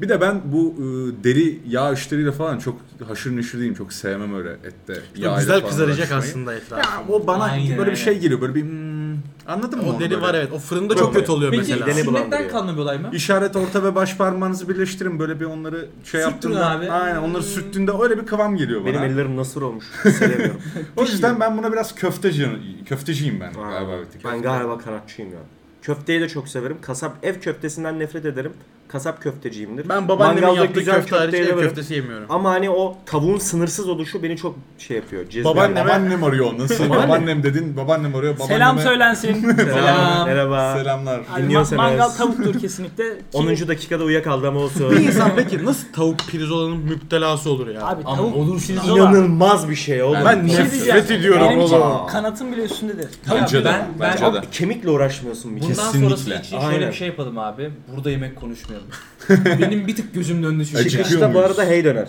Bir de ben bu e, deri yağ işleriyle falan çok haşır neşir değilim. Çok sevmem öyle ette. yağ ile Güzel falan kızaracak uğraşmayı. aslında etraf. Ya o bana Aynen böyle öyle. bir şey geliyor böyle bir hmm, anladın mı? O onu deri böyle? var evet. O fırında Böyle. çok kötü oluyor Peki mesela. Mideni sünnetten bulandırıyor. kalma bir olay mı? İşaret orta ve baş parmağınızı birleştirin böyle bir onları şey yaptığında. abi. Hmm. Aynen onları sürttüğünde öyle bir kıvam geliyor bana. Benim ellerim nasır olmuş. Hissedemiyorum. o yüzden ben buna biraz köfteci köfteciyim ben Aa, [LAUGHS] galiba. bir tık. Ben galiba kanatçıyım ya. Köfteyi de çok severim. Kasap ev köftesinden nefret ederim. Kasap köfteciyimdir. Ben babaannemin Mangalda yaptığı güzel köfte hariç köfteyi ev yerim. köftesi yemiyorum. Ama hani o tavuğun sınırsız oluşu beni çok şey yapıyor. Cezbediyor. Babaannem- Babaannem arıyor nasıl? babaannem dedin babaannem arıyor. Babaanneme... [LAUGHS] Selam söylensin. Selam. Merhaba. Selamlar. Abi, ma- Dinliyorsanız. mangal tavuktur kesinlikle. Ki- 10. dakikada uyuyakaldı ama Bir olsun. insan peki nasıl tavuk pirzolanın müptelası olur ya? Abi Ama tavuk olur pirzola. İnanılmaz bir şey oğlum. ben bir şey nefret diyeceğim. ediyorum Benim için oğlum. kanatın bile üstündedir. Bence de. Ben- ben- bence de. Kemikle uğraşmıyorsun bir kere. Kesinlikle. Bundan sonrası için şöyle Aynen. bir şey yapalım abi. Burada yemek konuşmayalım. Benim bir tık gözüm döndü E, şu şey. Acıkıyor Çıkışta bu muyuz? arada hey döner.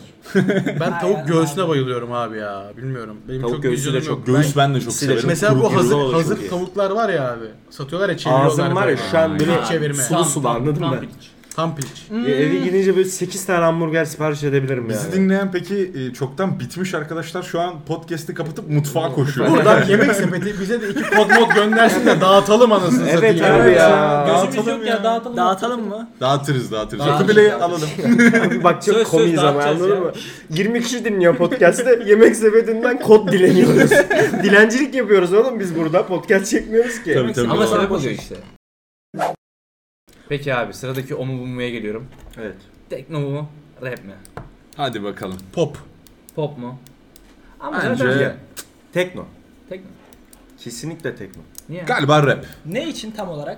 Ben tavuk göğsüne bayılıyorum abi ya. Bilmiyorum. Benim Tavuk çok göğsü de vizyonum çok- yok. Göğüs ben de çok Mesela severim. Mesela Kuru bu pirzola hazır da çok hazır iyi. tavuklar var ya abi. Satıyorlar ya çeviriyorlar. Ağzım var ya böyle. şu an böyle Aynen. Çevirme. sulu sulu anladın Tam- mı? tam piliç. Tam piliç. Hmm. E, Eve gidince böyle 8 tane hamburger sipariş edebilirim Bizi yani. dinleyen peki e, çoktan bitmiş arkadaşlar şu an podcast'i kapatıp mutfağa koşuyor. Buradan yemek sepeti bize de iki kod mod göndersin de dağıtalım anasını Evet satayım. abi ya. Gözümüz yok ya dağıtalım. Dağıtalım mı? dağıtırız dağıtırız. Dağıtırız. Rakı bile alalım. [LAUGHS] Abi bak çok Söz söz komiyiz ama dağıtacağız anladın ya. mı? 20 kişi dinliyor podcast'te. yemek sepetinden kod dileniyoruz. Dilencilik yapıyoruz oğlum biz burada. Podcast çekmiyoruz ki. Tabii, tabii. Ama Doğru. sebep oluyor işte. Peki abi sıradaki o mu bu mu'ya geliyorum. Evet. Tekno mu? Rap mi? Hadi bakalım. Pop. Pop mu? Ama zaten Bence Tekno. tekno. Kesinlikle tekno. Niye? galiba rap. Ne için tam olarak?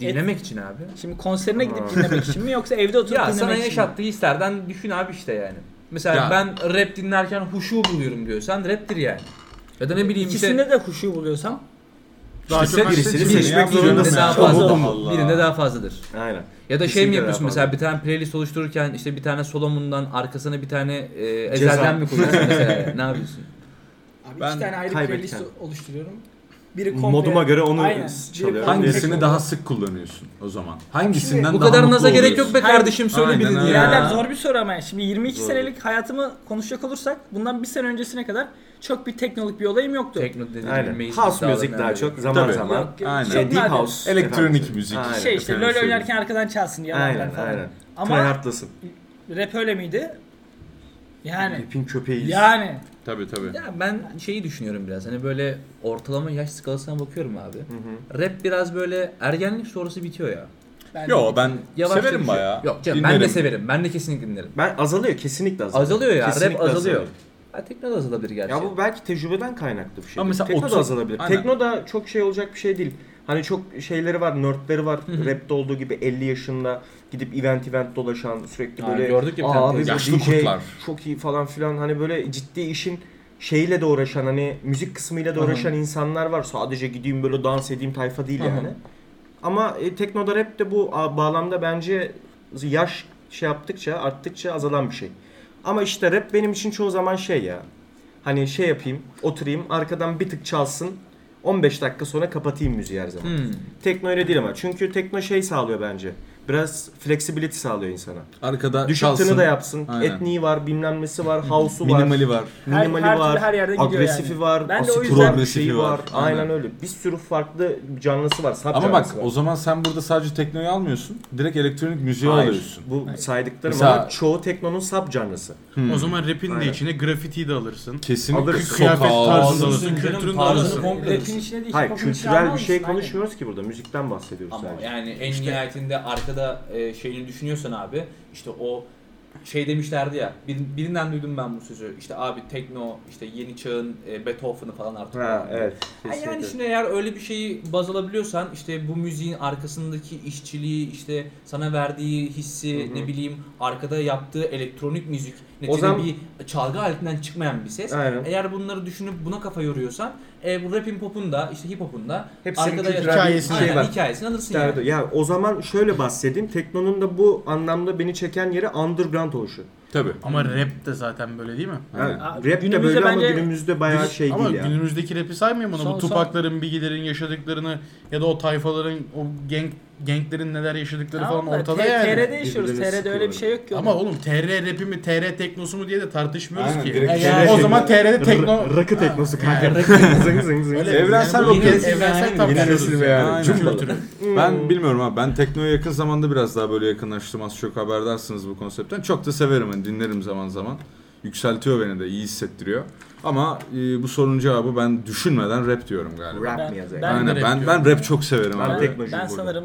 Dinlemek için abi. Şimdi konserine gidip Aa. dinlemek için mi yoksa evde oturup Ya dinlemek sana için mi? yaşattığı hislerden düşün abi işte yani. Mesela Ya. ben rap dinlerken huşu buluyorum diyorsan raptir yani. Ya da ne bileyim işte İkisinde de huşu buluyorsam Daha İşte çok birisini birisini seçmek seçmek zorunda birinde zorundasın. daha Çok fazla Allah Allah. birinde daha fazladır. Aynen. Ya da şey mi Kesinlikle yapıyorsun daha mesela fazla. bir tane playlist oluştururken işte bir tane Solomon'dan arkasına bir tane e, Ceza. Ezel'den mi koyuyorsun mesela? yani? ne yapıyorsun? abi Ben iki tane ayrı kaybetken. playlist oluşturuyorum. Biri komple. Moduma göre onu Aynen. çalıyorum. Hangisini daha sık kullanıyorsun o zaman? Hangisinden Bu daha kadar mutlu naza gerek yok oluyorsun? be kardeşim söyle Aynen birini öyle. ya. Birader zor bir soru ama yani. şimdi 22 senelik hayatımı konuşacak olursak bundan bir sene öncesine kadar çok bir teknolik bir olayım yoktu. Tekno dediğim Aynen. bilmeyiz. House Dağlar müzik daha nerede? çok zaman Tabii. zaman. Aynen. Şey, deep madem. house. Elektronik efendim. müzik. Aynen. Şey işte Efendim LoL söyleyeyim. oynarken arkadan çalsın yalanlar Aynen falan. aynen. Ama- Tryhard'lasın. Rap öyle miydi? Yani. Hepin köpeğiyiz. Yani. Tabii tabii. Ya ben şeyi düşünüyorum biraz. Hani böyle ortalama yaş skalasına bakıyorum abi. Rap biraz böyle ergenlik sonrası bitiyor ya. Ben Yo ben Yavaşça severim düşüyor. bayağı. Yok canım ben de Dinlerim. severim. Ben de kesinlikle dinlerim. Ben azalıyor kesinlikle azalıyor. Azalıyor ya. Kesinlikle rap azalıyor. Ha, tekno da azalabilir gerçi. Ya bu belki tecrübeden kaynaklı bir şey. Ama değil. mesela Tekno otuz- da azalabilir. Aynen. Tekno da çok şey olacak bir şey değil. Hani çok şeyleri var, nerdleri var. Rap'te olduğu gibi 50 yaşında gidip event event dolaşan sürekli Aynen, böyle gördük ya bir "Aa tane abi bu teyze." Yaşlı DJ kurtlar. çok iyi falan filan hani böyle ciddi işin şeyle de uğraşan hani müzik kısmıyla da uğraşan insanlar var. Sadece gideyim böyle dans edeyim tayfa değil yani. Ama e, teknoda rap de bu a, bağlamda bence yaş şey yaptıkça arttıkça azalan bir şey. Ama işte rap benim için çoğu zaman şey ya. Hani şey yapayım, oturayım, arkadan bir tık çalsın. 15 dakika sonra kapatayım müziği her zaman. Hmm. Tekno öyle değil ama. Çünkü tekno şey sağlıyor bence. Biraz flexibility sağlıyor insana. Arkada Düşüktünü çalsın. da yapsın. Aynen. Etniği var, bilmem nesi var, house'u var. Minimali var. Her- Minimali her türlü var, her yerden gidiyor agresifi yani. var, Ben de o asit yüzden- rock şeyi var. Progresifi var, Aynen. aynen. öyle. Bir sürü farklı canlısı var, sap Ama bak canlısı o var. zaman sen burada sadece teknoyu almıyorsun. Direkt elektronik müziği Hayır, alıyorsun. Bu saydıklarım Mesela- ama çoğu teknonun sap canlısı. Hmm. O zaman rapin de Aynen. içine grafitiyi de alırsın. Kesinlikle Alırız. Kıyafet tarzı da sokağa. alırsın, Canım, kültürünü de tarzını alırsın. komple Rapin alırsın. içine de Hayır, hip hop'un içine kültürel bir almaz şey mısın? Aynen. konuşmuyoruz ki burada. Müzikten bahsediyoruz Ama sadece. yani en nihayetinde arkada e, şeyini düşünüyorsan abi işte o şey demişlerdi ya bir- birinden duydum ben bu sözü işte abi tekno işte yeni çağın e, Beethoven'ı falan artık. Ha, evet. Ha, Kesinlikle. yani şimdi eğer öyle bir şeyi baz alabiliyorsan işte bu müziğin arkasındaki işçiliği işte sana verdiği hissi Hı hı. ne bileyim arkada yaptığı elektronik müzik neticede zaman- bir çalgı aletinden çıkmayan bir ses. Aynen. Eğer bunları düşünüp buna kafa yoruyorsan e, bu rap'in popun da işte hip hop'un da Hepsinin arkada kültürel yatan- hikayesi Aynen, şey var. hikayesini alırsın yani. Derdi. Ya o zaman şöyle bahsedeyim. Teknonun da bu anlamda beni çeken yeri underground oluşu. Tabii. Ama rap de zaten böyle değil mi? Yani Aa, rap de günümüzde böyle ama bence- günümüzde bayağı şey Ama değil ya. günümüzdeki rapi saymıyor mu? Sağ ol, Bu Tupac'ların, Biggie'lerin yaşadıklarını ya da o tayfaların, o genk, genklerin neler yaşadıkları Tamam falan da ortada T- yani. TR'de yaşıyoruz. Birbirlerini TR'de öyle bir şey yok ki. Ama oğlum TR rapi mi, TR teknosu mu diye de tartışmıyoruz Aynen, ki. direkt E, TR o şey- zaman TR'de tekno... Tekno... Rakı teknosu kanka. zing zing zing. Öyle- Evrensel yani bu yine- bakıyoruz. Evrensel Yine tartışıyoruz. nesil be yani. Aynen. Cumhur. Kültürü. Ben bilmiyorum abi. Ben teknoya yakın zamanda biraz daha böyle yakınlaştım. Az çok haberdarsınız bu konseptten. Çok da severim hani dinlerim zaman zaman. Yükseltiyor beni de iyi hissettiriyor. Ama e, bu sorunun cevabı ben düşünmeden rap diyorum galiba. Rap Ben- mı yazayım? ben de Aynen rap ben diyorum. ben rap çok severim Ben abi. tekno Ben, ben cumhurda. sanırım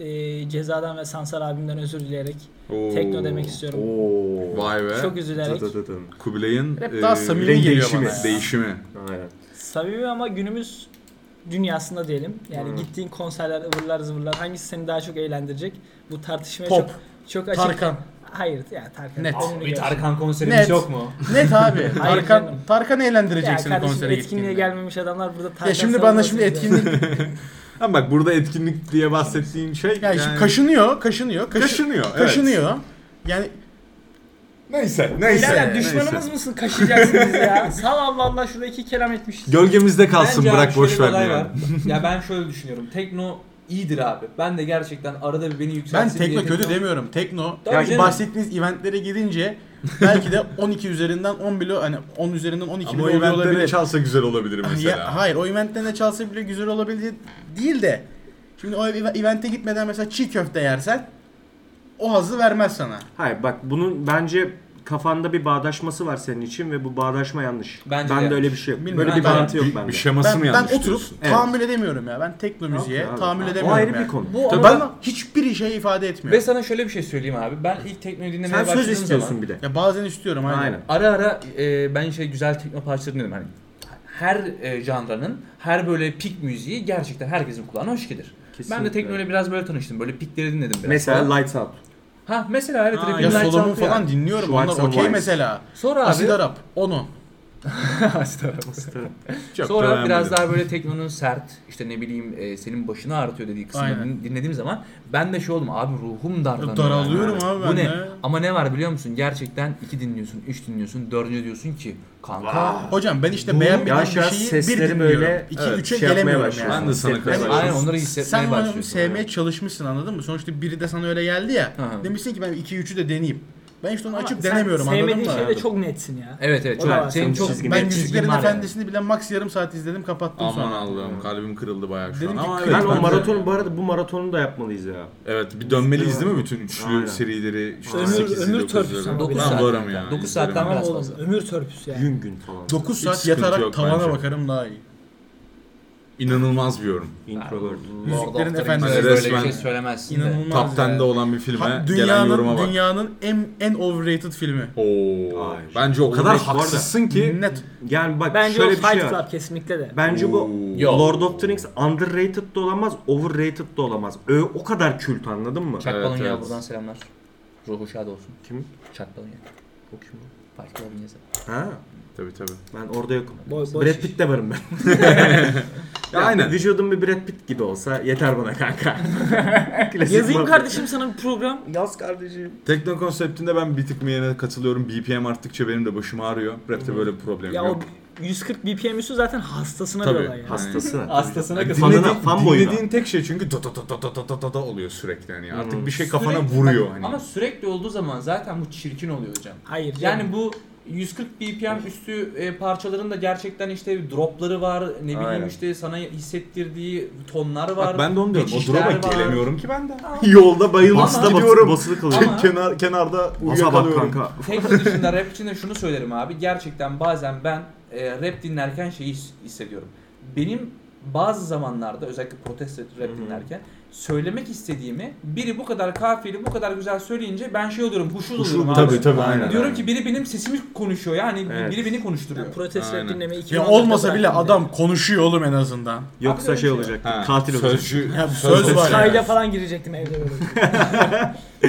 e, Ceza'dan ve Sansar abimden özür dileyerek Oo. tekno demek istiyorum. Oo. Vay be. Çok üzülerek. Tı tı tı tı. Kubilay'ın e, Rap daha samimi renk geliyor değişimi. bana ya. Ee, değişimi. Aynen. Samimi ama günümüz dünyasında diyelim. Yani Hı. gittiğin konserler, ıvırlar zıvırlar hangisi seni daha çok eğlendirecek? Bu tartışmaya Pop, çok çok açık. Tarkan. Hayır ya Tarkan. Net. Önünü Bir geç. Tarkan konserimiz Net. yok mu? Net abi. Hayır Tarkan, canım. Tarkan Ya eğlendireceksin kardeşim konsere etkinliğe gittiğinde. gelmemiş adamlar burada Tarkan. Ya şimdi sana bana nasıl şimdi diyor? etkinlik Ama bak burada etkinlik diye bahsettiğin şey yani, şimdi kaşınıyor, kaşınıyor, kaşı- Kaşınıyor, evet. kaşınıyor. Yani Neyse, neyse. [LAUGHS] Birader neyse. düşmanımız mısın kaşıyacaksınız ya? Sağ Allah Allah şurada iki kelam etmişiz. Gölgemizde kalsın Bence abi bırak şöyle boş bir ver olay diyorum. var. ya ben şöyle düşünüyorum. Tekno iyidir abi. Ben de gerçekten arada bir beni ben yükselsin diye tekno kötü demiyorum. Tekno Tabii yani canım. bahsettiğiniz eventlere gidince belki de 12 üzerinden 10 bile hani 10 üzerinden 12 Ama bile o oluyor eventlere olabilir. çalsa güzel olabilir mesela. Hani Ya, hayır o eventten de çalsa bile güzel olabilir değil de şimdi o ev- evente gitmeden mesela çiğ köfte yersen o hazı vermez sana. Hayır bak bunun bence kafanda bir bağdaşması var senin için ve bu bağdaşma yanlış. Bence ben de de öyle bir şey yok. Bilmiyorum. Böyle bir Ben- bağlantı yok bir, bende. bir şey şeması Ben, mı ben yanlış oturup diyorsun? Evet. tahammül edemiyorum ya. Ben tekno müziğe Yok ya abi. tahammül O edemiyorum. ayrı yani. bir konu. Bu Tabii. bana hiçbir şey ifade etmiyor. Ve sana şöyle bir şey söyleyeyim abi. Ben ilk teknoyu dinlemeye Sen başladığım söz istiyorsun zaman bir de. Ya bazen istiyorum aynen. Aynen. ara ara e, ben şey güzel tekno parçaları dinledim hani. Her e, janranın, her böyle pik müziği gerçekten herkesin kulağına hoş gelir. Ben de Kesinlikle. teknoyla biraz böyle tanıştım. Böyle pikleri dinledim biraz. falan. Mesela Lights Out. ha mesela evet Ha, Rapid Ya Lights Solomon Out'u yani. falan dinliyorum. Şu Onlar White Sun okey Wise. mesela. Sonra abi Asil Arap onu. [LAUGHS] Asit Arap. Çok da Sonra beğenmedim. biraz daha böyle teknonun sert, işte ne bileyim e, senin başını ağrıtıyor dediği kısımları Aynen. dinlediğim zaman ben de şey oldum abi ruhum darlanıyor. Daralıyorum yani. abi ben Bu ne? de. Ama ne var biliyor musun? Gerçekten iki dinliyorsun, üç dinliyorsun, dördüncü diyorsun ki kanka. Hocam ben işte Bu- beğenmediğim Yavaş bir yavaş şeyi bir sesleri dinliyorum. böyle, İki evet, üçe şey yapmaya gelemiyorum başlıyorsun. yani. Ben de sana Hissetmeye katılıyorum. Aynen başlıyorsun. onları Sen hissetmeye onu başlıyorsun. sevmeye çalışmışsın anladın mı? Sonuçta biri de sana öyle geldi ya. Hı hı. Demişsin ki ben 2-3'ü de deneyeyim. Ben işte onu Ama açıp sen denemiyorum anladın mı? Sevmediğin şeyde çok netsin ya. Evet evet O çok da var, senin senin çok çizgin. Ben net çizgin Yüzüklerin var yani. Efendisi'ni bile max yarım saat izledim kapattım Aman sonra. Allah'ım kalbim kırıldı bayağı şu Dedim an. ki, Ama kırk- evet, Ben o bence- maratonu bu arada bu maratonu da yapmalıyız ya. Evet bir dönmeliyiz değil mi bütün üçlü Aynen. serileri? Işte Ömür- 8'li, ömür 9'lu. törpüsü ama Dokuz Ben saat. varım ya. Dokuz izlerim. saatten Tamam Biraz oğlum fazla. ömür törpüsü yani. Gün gün falan. 9 saat sıkıntı yatarak yok tavana bence. bakarım daha iyi. İnanılmaz bir yorum. Introvert. Yüzüklerin Hani Efendisi Efendisi. böyle bir Resmen şey söylemezsin de. inanılmaz. Top 10'de yani. olan bir filme Ha, gelen yoruma dünyanın, bak. dünyanın en, en overrated filmi. Oo. Ay. Bence o kadar Overrated bu arada. haksızsın ki. Net. Yani bak Bence o şöyle bir Fight şey var. Club kesinlikle de. Bence bu Yok. Lord of the Rings underrated de olamaz, overrated de olamaz. Ö, o kadar kült anladın mı? Çakbalın Evet, ya evet. buradan selamlar. Ruhu şad olsun. Kim? Çakbalın ya. O kim? o? Farklı olun yazar. Ha, Tabii tabii. ben orada yokum. Boy, boy Brad Pitt de varım ben. [LAUGHS] Ya, Ya, aynen. Vücudum bir Brad Pitt gibi olsa yeter bana kanka. Klasik Yazayım muhabbet. kardeşim sana bir program. Yaz kardeşim. Tekno konseptinde ben bir tık miyene katılıyorum. BPM arttıkça benim de başım ağrıyor. Rap'te böyle bir problem Ya o yok. 140 BPM üstü zaten hastasına Tabii. bir olay yani. Hastası var. Hastasına Yani kadar. Fanına- dinlediğin, fan boyuna. dinlediğin tek şey çünkü da da da da da da da da da oluyor sürekli yani. Artık bir şey kafana vuruyor hani. Ama sürekli olduğu zaman zaten bu çirkin oluyor hocam. Hayır. Yani Yani bu 140 BPM üstü e, parçaların da gerçekten işte dropları var. Ne bileyim Aynen. işte sana hissettirdiği tonlar var. Bak ben de onu diyorum. O geçişler drop'a var. gelemiyorum ki ben de. [LAUGHS] Yolda bayılıp Ama- da basılı, basılı kalıyor. Ama- Kenar, kenarda Masa bak uyuyakalıyorum. kanka. Tekno dışında rap içinde şunu söylerim abi. Gerçekten bazen ben e, rap dinlerken şeyi his- hissediyorum. Benim bazı zamanlarda özellikle protest rap dinlerken söylemek istediğimi biri bu kadar kafiyeli bu kadar güzel söyleyince ben şey oluyorum huşuz oluyorum abi. Tabii tabii aynen. Diyorum ki biri benim sesimi konuşuyor yani Evet. biri beni konuşturuyor. protest rap Aynen. dinlemeyi Ya 2014'te olmasa bile bıraktım adam konuşuyor oğlum en azından. Yoksa şey olacak. Ha, Katil olacak. Sözcü, Ya söz, söz var ben. ya. Kayda falan girecektim evde böyle. [LAUGHS]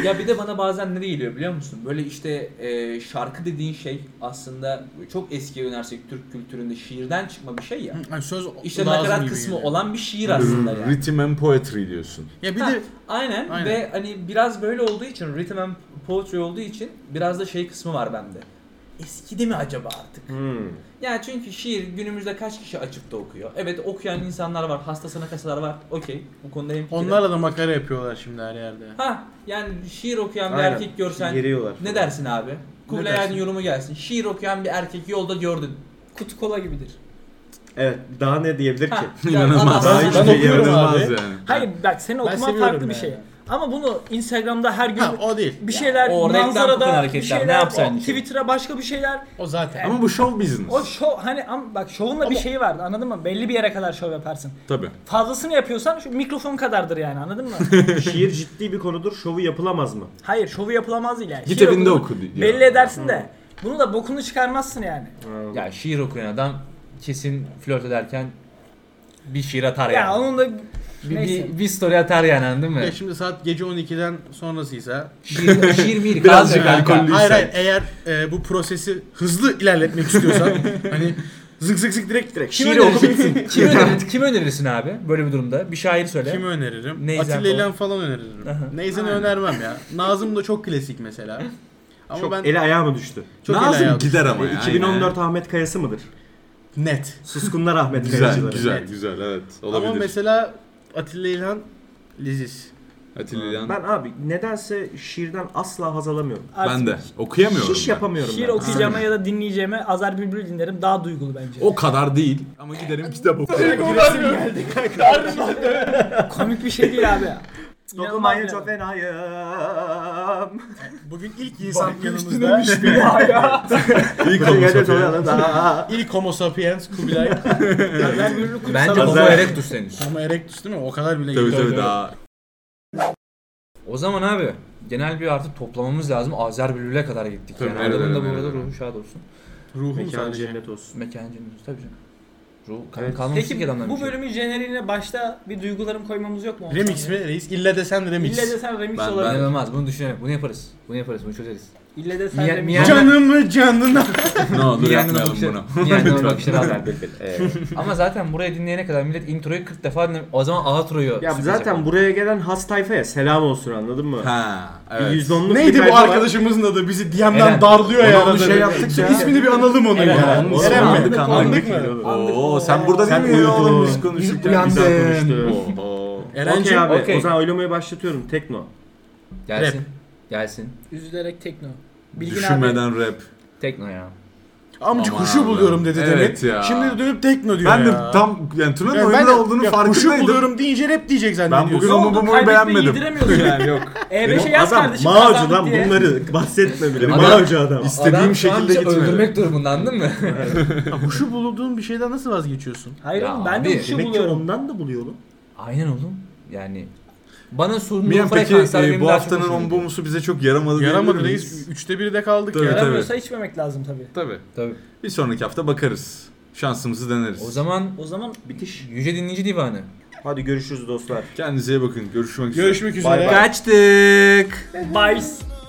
ya bir de bana bazen ne geliyor biliyor musun? Böyle işte e, şarkı dediğin şey aslında çok eskiye dönersek Türk kültüründe şiirden çıkma bir şey ya. Yani söz İşte lazım nakarat gibi kısmı geliyor. olan bir şiir aslında yani. Rhythm and poetry diyorsun. Ya bir Ha, de Aynen. Aynen. ve hani biraz böyle olduğu için rhythm and poetry olduğu için biraz da şey kısmı var bende. Eskidi mi acaba artık? Hmm. Ya çünkü şiir günümüzde kaç kişi açıp da okuyor? Evet okuyan insanlar var, hastasına kasalar var. Okey. Bu konuda hemfikirim. onlarla da makara yapıyorlar şimdi her yerde. Ha yani şiir okuyan bir Aynen. erkek görsen Yeriyorlar. ne dersin abi? Kubilay dersin? Aydın yorumu gelsin. Şiir okuyan bir erkek yolda gördün. Kutu kola [LAUGHS] gibidir. Evet. Daha ne diyebilir ki? Ha, [LAUGHS] İnanılmaz. adam- Ben adam- hiçbir okuyorum İnanılmaz abi. yani. Hayır bak senin okuman seviyorum farklı bir ya. şey. Ama bunu Instagram'da her gün Ha, o değil. bir şey- o şeyler reklam kokan manzarada bir hareketler, ne şey? şeyler yapsan o için. Twitter'a başka bir şeyler O zaten. Ama bu show business. o şov hani am- bak şovun da bir şeyi vardı anladın mı? Belli bir yere kadar şov yaparsın. Tabii. Fazlasını yapıyorsan şu mikrofon kadardır yani anladın [LAUGHS] mı? Şiir ciddi bir konudur. Şovu yapılamaz mı? Hayır şovu yapılamaz değil yani. Git Şiir evinde okunur, oku diyor. Belli edersin de bunu da bokunu çıkarmazsın yani. Ya şiir okuyan adam kesin flört ederken bir şiir atar Ya yani. onun da Bir, neyse. bir, bir story atar yani anladın mı? Ya şimdi saat gece 12'den sonrasıysa Şiir, şiir miyir? Birazcık kaldı kanka. alkollüysen. Hayır hayır eğer e, bu prosesi hızlı ilerletmek [LAUGHS] istiyorsan hani zık zık zık direkt direkt Kim şiir önerirsin? oku bitsin. [LAUGHS] Kim, önerir, kim önerirsin abi böyle bir durumda? Bir şair söyle. Kimi öneririm? Neyzen Atilla falan. İlhan falan öneririm. Aha. Neyzen'i önermem ya. Nazım da çok klasik mesela. Ama Çok ben ele ayağı mı düştü? çok el ayağı- Nazım gider ama ya. 2014 Ahmet Kayası mıdır? net. Suskunlar Ahmet Güzel, Kayacıları. güzel, Evet. güzel evet. Ama Olabilir. mesela Atilla İlhan Liziz. Atilla İlhan. Ben abi nedense şiirden asla haz alamıyorum. artık Ben de. Okuyamıyorum. Şiş ben. yapamıyorum Şiir ben. okuyacağıma ya da dinleyeceğime Azar Bülbül dinlerim daha duygulu bence. O kadar değil. Ama giderim kitap okurum. Komik bir şey değil [LAUGHS] abi. Dokunmayın çok fenayım. Bugün ilk insan yanımızda. yanımızda. Dokunmayın İyi kalmış. çok fenayım. ilk homo sapiens Kubilay. Azar Bülbül kutsal Bence Homo Pazar- erectus henüz. Homo erectus değil mi? O kadar bile Tabii gidiyor. tabii daha. O zaman abi genel bir artık toplamamız lazım. Azer Bülbül'e kadar gittik. Tabii, yani nerelere, adamın da bu nerelere. arada ruhu şad olsun. Ruhum Mekanı sadece. cennet olsun. Mekan cennet tabii canım. Ruh kan Evet. kalmamış ki Peki adamdan bir bu şey. bölümün jeneriğine başta bir duygularım koymamız yok mu? Remix mi? Reis illa desen remix. İlle desen remix Ben- olabilir. İnanılmaz bunu düşünelim. Bunu yaparız. Bunu yaparız. Bunu çözeriz. İlle desen Mia- remix. Mia- Canımı canına. Ne olur Bir yandan yapmayalım bakışlar- bunu. Bir yandan bakışlar abi. Azer Bülbül, evet. Ama zaten buraya dinleyene kadar millet introyu 40 defa dinlemiş. O zaman outroyu ya sıkacak. zaten buraya gelen has tayfaya selam olsun anladın mı? [LAUGHS] Ha, Bir evet. Yüzde Neydi bu arkadaşımızın adı? Bizi DM'den Eren. darlıyor Ona ya. bir arada. şey yaptık ya. İsmini bir analım onun Eren. ya. Onu Eren mi? andık, andık. Oo, sen burada Sen değil mi ya? uyudun. Biz konuşurken Uyandın. güzel konuştuk. Oo. Okey Eren'cim. abi okey. o zaman oylamayı başlatıyorum tekno. Gelsin. Gelsin. Üzülerek tekno. Bilgin abi. Düşünmeden rap. Tekno ya. Amca Aman kuşu abi. buluyorum dedi Evet demin. ya. Şimdi dönüp tekno diyor Ben ya. de tam yani Tuna'nın Yani ben oyunda de- olduğunu ya farkındaydım. Kuşu buluyorum deyince rap diyecek Ben bugün zannediyorsun. onu oldu? bunu Kaybetmeyi beğenmedim. yediremiyorsun yani. Yok. [LAUGHS] E5'e Oğlum E yaz adam kardeşim mağacı lan kazandık diye. bunları bahsetme bile. Adam- Mağacı adam. İstediğim Adam şu an şekilde bizi gitmedi. öldürmek durumundan anladın mı? Ya Kuşu bulduğun bir şeyden nasıl vazgeçiyorsun? Hayır Ya oğlum ben abi, de kuşu Demek ki buluyorum. ondan da buluyor oğlum. [LAUGHS] Aynen oğlum. Yani bana sunduğu Miyan peki frekanslar e, benim bu daha çok haftanın hoşuma gidiyor. ombumusu bize çok yaramadı Yaramadı diyebilir reis. miyiz? Üçte birde kaldık Tabii, ya. tabii. Yaramıyorsa içmemek lazım tabii. Tabii. Tabii. Bir sonraki hafta bakarız. Şansımızı deneriz. O zaman O zaman Bitiş. Yüce Dinleyici Divanı. Hadi görüşürüz dostlar. Kendinize iyi bakın. Görüşmek üzere. Görüşmek üzere. Bay bay. Kaçtık. Bice.